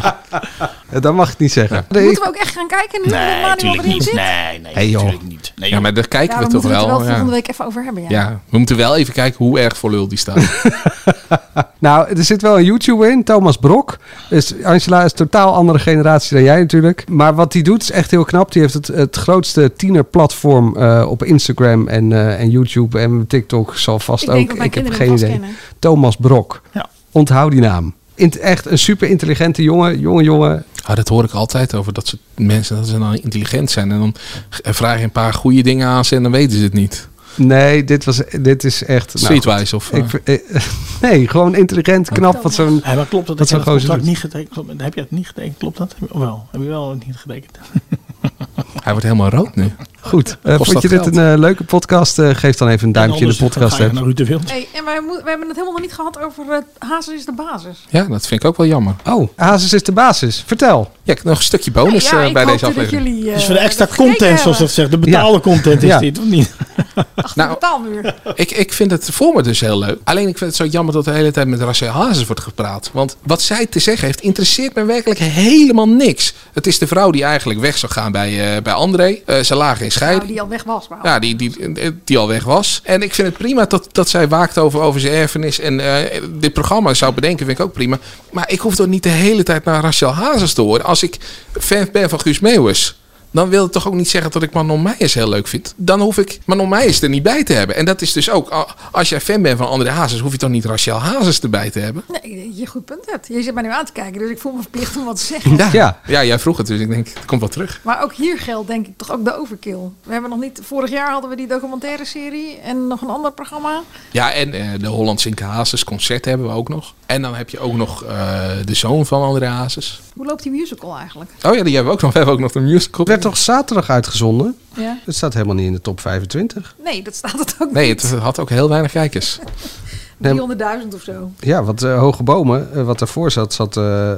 Speaker 8: Eh, Dat mag ik niet zeggen. Nee,
Speaker 10: Moeten we ook echt gaan kijken nu? Nee, natuurlijk niet. Zit?
Speaker 9: Nee, nee.
Speaker 7: Hey, joh. ja, maar daar kijken
Speaker 10: ja,
Speaker 7: we
Speaker 10: we
Speaker 7: toch
Speaker 10: moeten het
Speaker 7: wel.
Speaker 10: er wel
Speaker 7: ja.
Speaker 10: volgende week even over hebben. Ja.
Speaker 7: Ja, we moeten wel even kijken hoe erg voor lul die staat.
Speaker 8: Nou, er zit wel een YouTuber in, Thomas Brok. Dus Angela is een totaal andere generatie dan jij natuurlijk. Maar wat hij doet is echt heel knap. Die heeft het, het grootste tienerplatform eh, op Instagram en, eh, en YouTube en TikTok. Zal vast
Speaker 10: Ik
Speaker 8: ook.
Speaker 10: denk dat mijn
Speaker 8: ik heb
Speaker 10: kinderen
Speaker 8: geen
Speaker 10: hem
Speaker 8: idee.
Speaker 10: vast kennen.
Speaker 8: Thomas Brok.
Speaker 9: Ja.
Speaker 8: Onthoud die naam. Int- echt een super intelligente jongen. Jongen, jongen.
Speaker 7: Ah, dat hoor ik altijd over dat soort mensen, dat ze dan intelligent zijn. En dan g- vraag je een paar goede dingen aan ze en dan weten ze het niet.
Speaker 8: Nee, dit, was, dit is echt... nou,
Speaker 7: Streetwise
Speaker 8: goed.
Speaker 7: of,
Speaker 8: Ik
Speaker 7: eh?
Speaker 8: ver- eh, nee, gewoon
Speaker 9: Oh.
Speaker 8: intelligent, knap. Wat zo'n...
Speaker 9: Ja, maar klopt dat,
Speaker 8: wat
Speaker 9: dat
Speaker 8: zo'n
Speaker 9: je dat
Speaker 8: gozer
Speaker 9: contract
Speaker 8: doet.
Speaker 9: niet getekend hebt? Heb je het niet getekend? Klopt dat? Of wel? Heb je wel niet getekend?
Speaker 7: Hij wordt helemaal rood nu.
Speaker 8: Goed. Eh,
Speaker 7: Kost dat
Speaker 8: vond je dit
Speaker 7: geld?
Speaker 8: een eh, leuke podcast? Eh, geef dan even een duimpje in de
Speaker 9: anders
Speaker 8: podcast.
Speaker 9: ga je naar Ruud de Wild.
Speaker 10: Hey, en wij, moe- we hebben het helemaal nog niet gehad over eh Hazes is de basis.
Speaker 7: Ja, dat vind ik ook wel jammer.
Speaker 8: Oh, Hazes is de basis. Vertel.
Speaker 7: Ja, ik heb nog een stukje bonus
Speaker 10: Nee, ja,
Speaker 7: eh,
Speaker 10: ik
Speaker 7: bij
Speaker 10: hoop
Speaker 7: deze
Speaker 10: dat
Speaker 7: aflevering.
Speaker 10: jullie, eh,
Speaker 9: dus voor de extra
Speaker 10: dat gekeken
Speaker 9: content, zoals dat
Speaker 10: hebben.
Speaker 9: zegt. De betaalde content is
Speaker 7: Ja.
Speaker 9: dit, of niet?
Speaker 7: Nou,
Speaker 10: Achter de taalmuur.
Speaker 7: Ik, ik vind het voor me dus heel leuk. Alleen ik vind het zo jammer dat de hele tijd met Rachel Hazes wordt gepraat. Want wat zij te zeggen heeft, interesseert me werkelijk helemaal niks. Het is de vrouw die eigenlijk weg zou gaan bij, eh, bij André. Eh, ze lagen in
Speaker 10: Nou,
Speaker 7: scheiding.
Speaker 10: die al weg was. Maar
Speaker 7: Ja, die, die, die al weg was. En ik vind het prima dat, dat zij waakt over, over zijn erfenis. En eh, dit programma zou bedenken, vind ik ook prima. Maar ik hoef toch niet de hele tijd naar Rachel Hazes te horen. Als ik fan ben van Guus Meeuwis. Dan wil het toch ook niet zeggen dat ik Manon Meijers heel leuk vind. Dan hoef ik Manon Meijers er niet bij te hebben. En dat is dus ook, a- als jij fan bent van André Hazes, hoef je toch niet Rachel Hazes erbij te hebben?
Speaker 10: nee, je goed punt hebt. Je zit mij nu aan te kijken, dus ik voel me verplicht om wat te zeggen.
Speaker 7: ja. ja jij vroeg het, dus ik denk, het komt wel terug.
Speaker 10: Maar ook hier geldt denk ik toch ook de overkill. We hebben nog niet... Vorig jaar hadden we die documentaire serie en nog een ander programma.
Speaker 7: Ja, en eh, de Hollandse Inke Hazes concert hebben we ook nog. En dan heb je ook nog eh, de zoon van André Hazes.
Speaker 10: Hoe loopt die musical eigenlijk?
Speaker 7: Oh ja, die hebben we ook nog. We hebben ook nog de musical.
Speaker 8: werd toch zaterdag uitgezonden?
Speaker 10: Ja.
Speaker 8: Het staat helemaal niet in de top 25.
Speaker 10: Nee, dat staat het ook
Speaker 7: Nee,
Speaker 10: niet.
Speaker 7: het had ook heel weinig kijkers.
Speaker 8: Nee,
Speaker 10: 300.000 of zo.
Speaker 8: Ja, want eh, Hoge Bomen, eh, wat daarvoor zat, zat eh,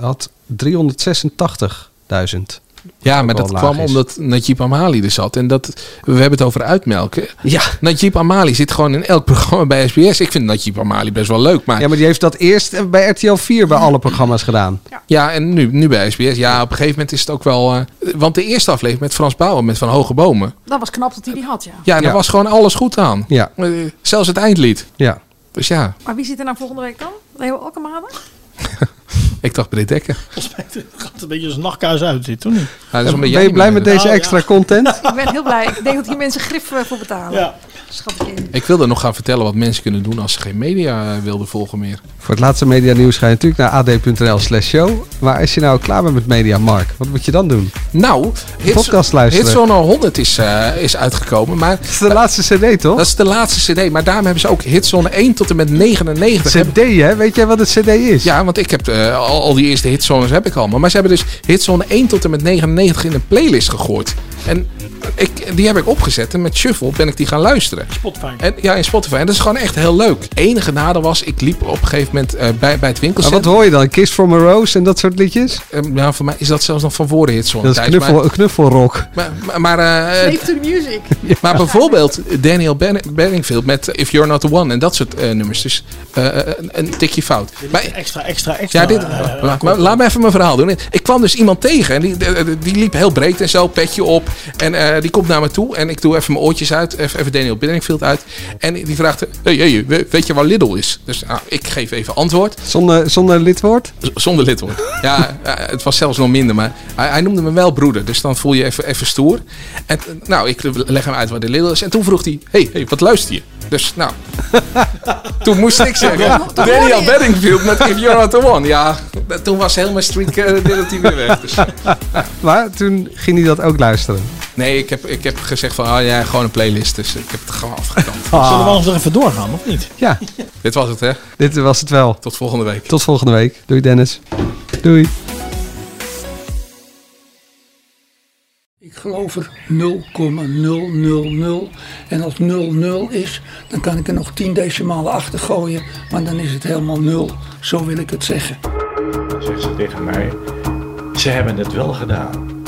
Speaker 8: had 386.000.
Speaker 7: Ja, maar
Speaker 8: wel
Speaker 7: dat
Speaker 8: laag
Speaker 7: kwam
Speaker 8: is.
Speaker 7: omdat Najib Amali er zat. En dat, we hebben het over uitmelken.
Speaker 8: Ja.
Speaker 7: Najib Amali zit gewoon in elk programma bij SBS. Ik vind Najib Amali best wel leuk. Maar
Speaker 8: Ja, maar die heeft dat eerst eh, bij RTL 4 bij alle programma's gedaan.
Speaker 7: Ja, en nu, nu bij SBS. Ja, op een gegeven moment is het ook wel... eh, want de eerste aflevering met Frans Bauer, met Van Hoge Bomen.
Speaker 10: Dat was knap dat hij die had, ja.
Speaker 7: Ja, daar
Speaker 8: Ja.
Speaker 7: was gewoon alles goed aan.
Speaker 8: Ja.
Speaker 7: Eh, Zelfs het eindlied.
Speaker 8: Ja.
Speaker 7: Dus ja,
Speaker 10: Maar wie zit er nou volgende week dan? Leo Alkemade?
Speaker 7: ik dacht Britt Dekker.
Speaker 9: Volgens mij gaat het een beetje als een nachtkaars uit, dit, toch niet?
Speaker 7: Nou, dat is omdat
Speaker 8: ben
Speaker 7: jij
Speaker 8: je
Speaker 7: niet
Speaker 8: blij
Speaker 7: meer
Speaker 8: met
Speaker 7: bent.
Speaker 8: deze
Speaker 9: Oh, ja.
Speaker 8: extra content?
Speaker 10: Ik ben heel blij. Ik denk dat hier mensen grif eh, voor betalen.
Speaker 9: Ja.
Speaker 10: Schat ik in.
Speaker 7: Ik wilde nog gaan vertellen wat mensen kunnen doen als ze geen media eh, wilden volgen meer.
Speaker 8: Voor het laatste medianieuws ga je natuurlijk naar ad.nl slash show. Maar als je nou klaar bent met Media Mark, wat moet je dan doen?
Speaker 7: Nou,
Speaker 8: podcast luisteren.
Speaker 7: Hitzone 100 is, eh, is uitgekomen. Maar
Speaker 8: Dat is de laatste cd, toch?
Speaker 7: dat is de laatste cd. Maar daarom hebben ze ook Hitzone 1 tot en met 99. Hebben-
Speaker 8: cd, hè? Weet jij wat een cd is?
Speaker 7: Ja, want ik heb eh, al, al die eerste hitzones heb ik allemaal. Maar ze hebben dus Hitzone 1 tot en met 99 in een playlist gegooid. En ik, die heb ik opgezet. En met Shuffle ben ik die gaan luisteren.
Speaker 9: Spotify.
Speaker 7: En, ja, in Spotify. En dat is gewoon echt heel leuk. Het enige nadeel was, ik liep op een gegeven moment eh, bij, bij het
Speaker 8: Maar
Speaker 7: winkelcentrum.
Speaker 8: wat hoor je dan? Kiss from a Rose en dat soort liedjes?
Speaker 7: Eh, ja, voor mij is dat zelfs nog van voor de hitzone.
Speaker 8: Ah, Dat is
Speaker 7: Thijs.
Speaker 8: knuffel, knuffelrock.
Speaker 7: Maar, maar, maar, eh,
Speaker 10: Slave to the music.
Speaker 7: maar bijvoorbeeld Daniel Ben- Benningfield met If You're Not The One en dat soort eh, nummers. Dus eh, een, een tikje fout. Maar,
Speaker 9: Extra, extra, extra.
Speaker 7: ja, dit,
Speaker 9: eh, eh,
Speaker 7: maar- maar laat me even mijn verhaal doen. Ik kwam dus iemand tegen en die, die, die liep heel breed en zo, petje op. En eh, die komt naar me toe en ik doe even mijn oortjes uit. Even, even Daniel Bedringfield uit. En die vraagt, hey, hey, we- weet je waar Lidl is? Dus nou, ik geef even antwoord.
Speaker 8: Zonder, zonder lidwoord?
Speaker 7: Z- Zonder lidwoord. Ja, eh, het was zelfs nog minder. Maar hij, hij noemde me wel broeder. Dus dan voel je even, even stoer. En eh, nou, ik leg hem uit waar de Lidl is. En toen vroeg hij, hey, hey, wat luister je? Dus nou, toen moest ik zeggen, Daniel Bedingfield met If You're Not The One. Ja, dat- toen was helemaal street credibility weer weg. Dus,
Speaker 8: Maar toen ging hij dat ook luisteren.
Speaker 7: nee, ik heb, ik heb gezegd van, oh ja, gewoon een playlist. Dus ik heb het gewoon afgekant.
Speaker 21: Zullen we anders nog even doorgaan, of niet?
Speaker 8: Ja.
Speaker 7: Dit was het, hè?
Speaker 8: Dit was het wel.
Speaker 7: Tot volgende week.
Speaker 8: Tot volgende week. Doei Dennis. Doei.
Speaker 10: Ik geloof er 0,000. En als 00 is, dan kan ik er nog 10 decimalen achter gooien. Maar dan is het helemaal 0. Zo wil ik het zeggen.
Speaker 9: Dan zegt ze tegen mij, ze hebben het wel gedaan.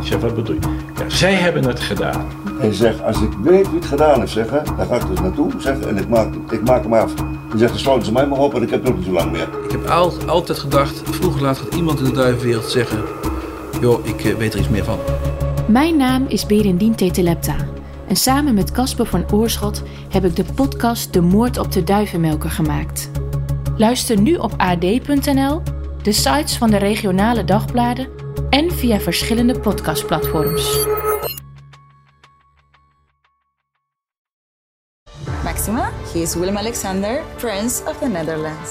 Speaker 9: Ik zeg, wat bedoel je? Ja, zij hebben het gedaan.
Speaker 22: En zeg, als ik weet wie het gedaan heeft, zeg, hè, dan ga ik dus naartoe zeg, en ik maak, ik maak hem af. Dan zegt, dan sluiten ze mij maar op en ik heb nog niet zo lang meer.
Speaker 23: Ik heb al, altijd gedacht, vroeg of laat gaat iemand in de duivenwereld zeggen... joh, ik eh, weet er iets meer van.
Speaker 24: Mijn naam is Berendien Tetelepta en samen met Casper van Oorschot heb ik de podcast De Moord op de Duivenmelker gemaakt. Luister nu op ad.nl, de sites van de regionale dagbladen en via verschillende podcastplatforms.
Speaker 1: Maxima, he is Willem Alexander, Prince of the Netherlands.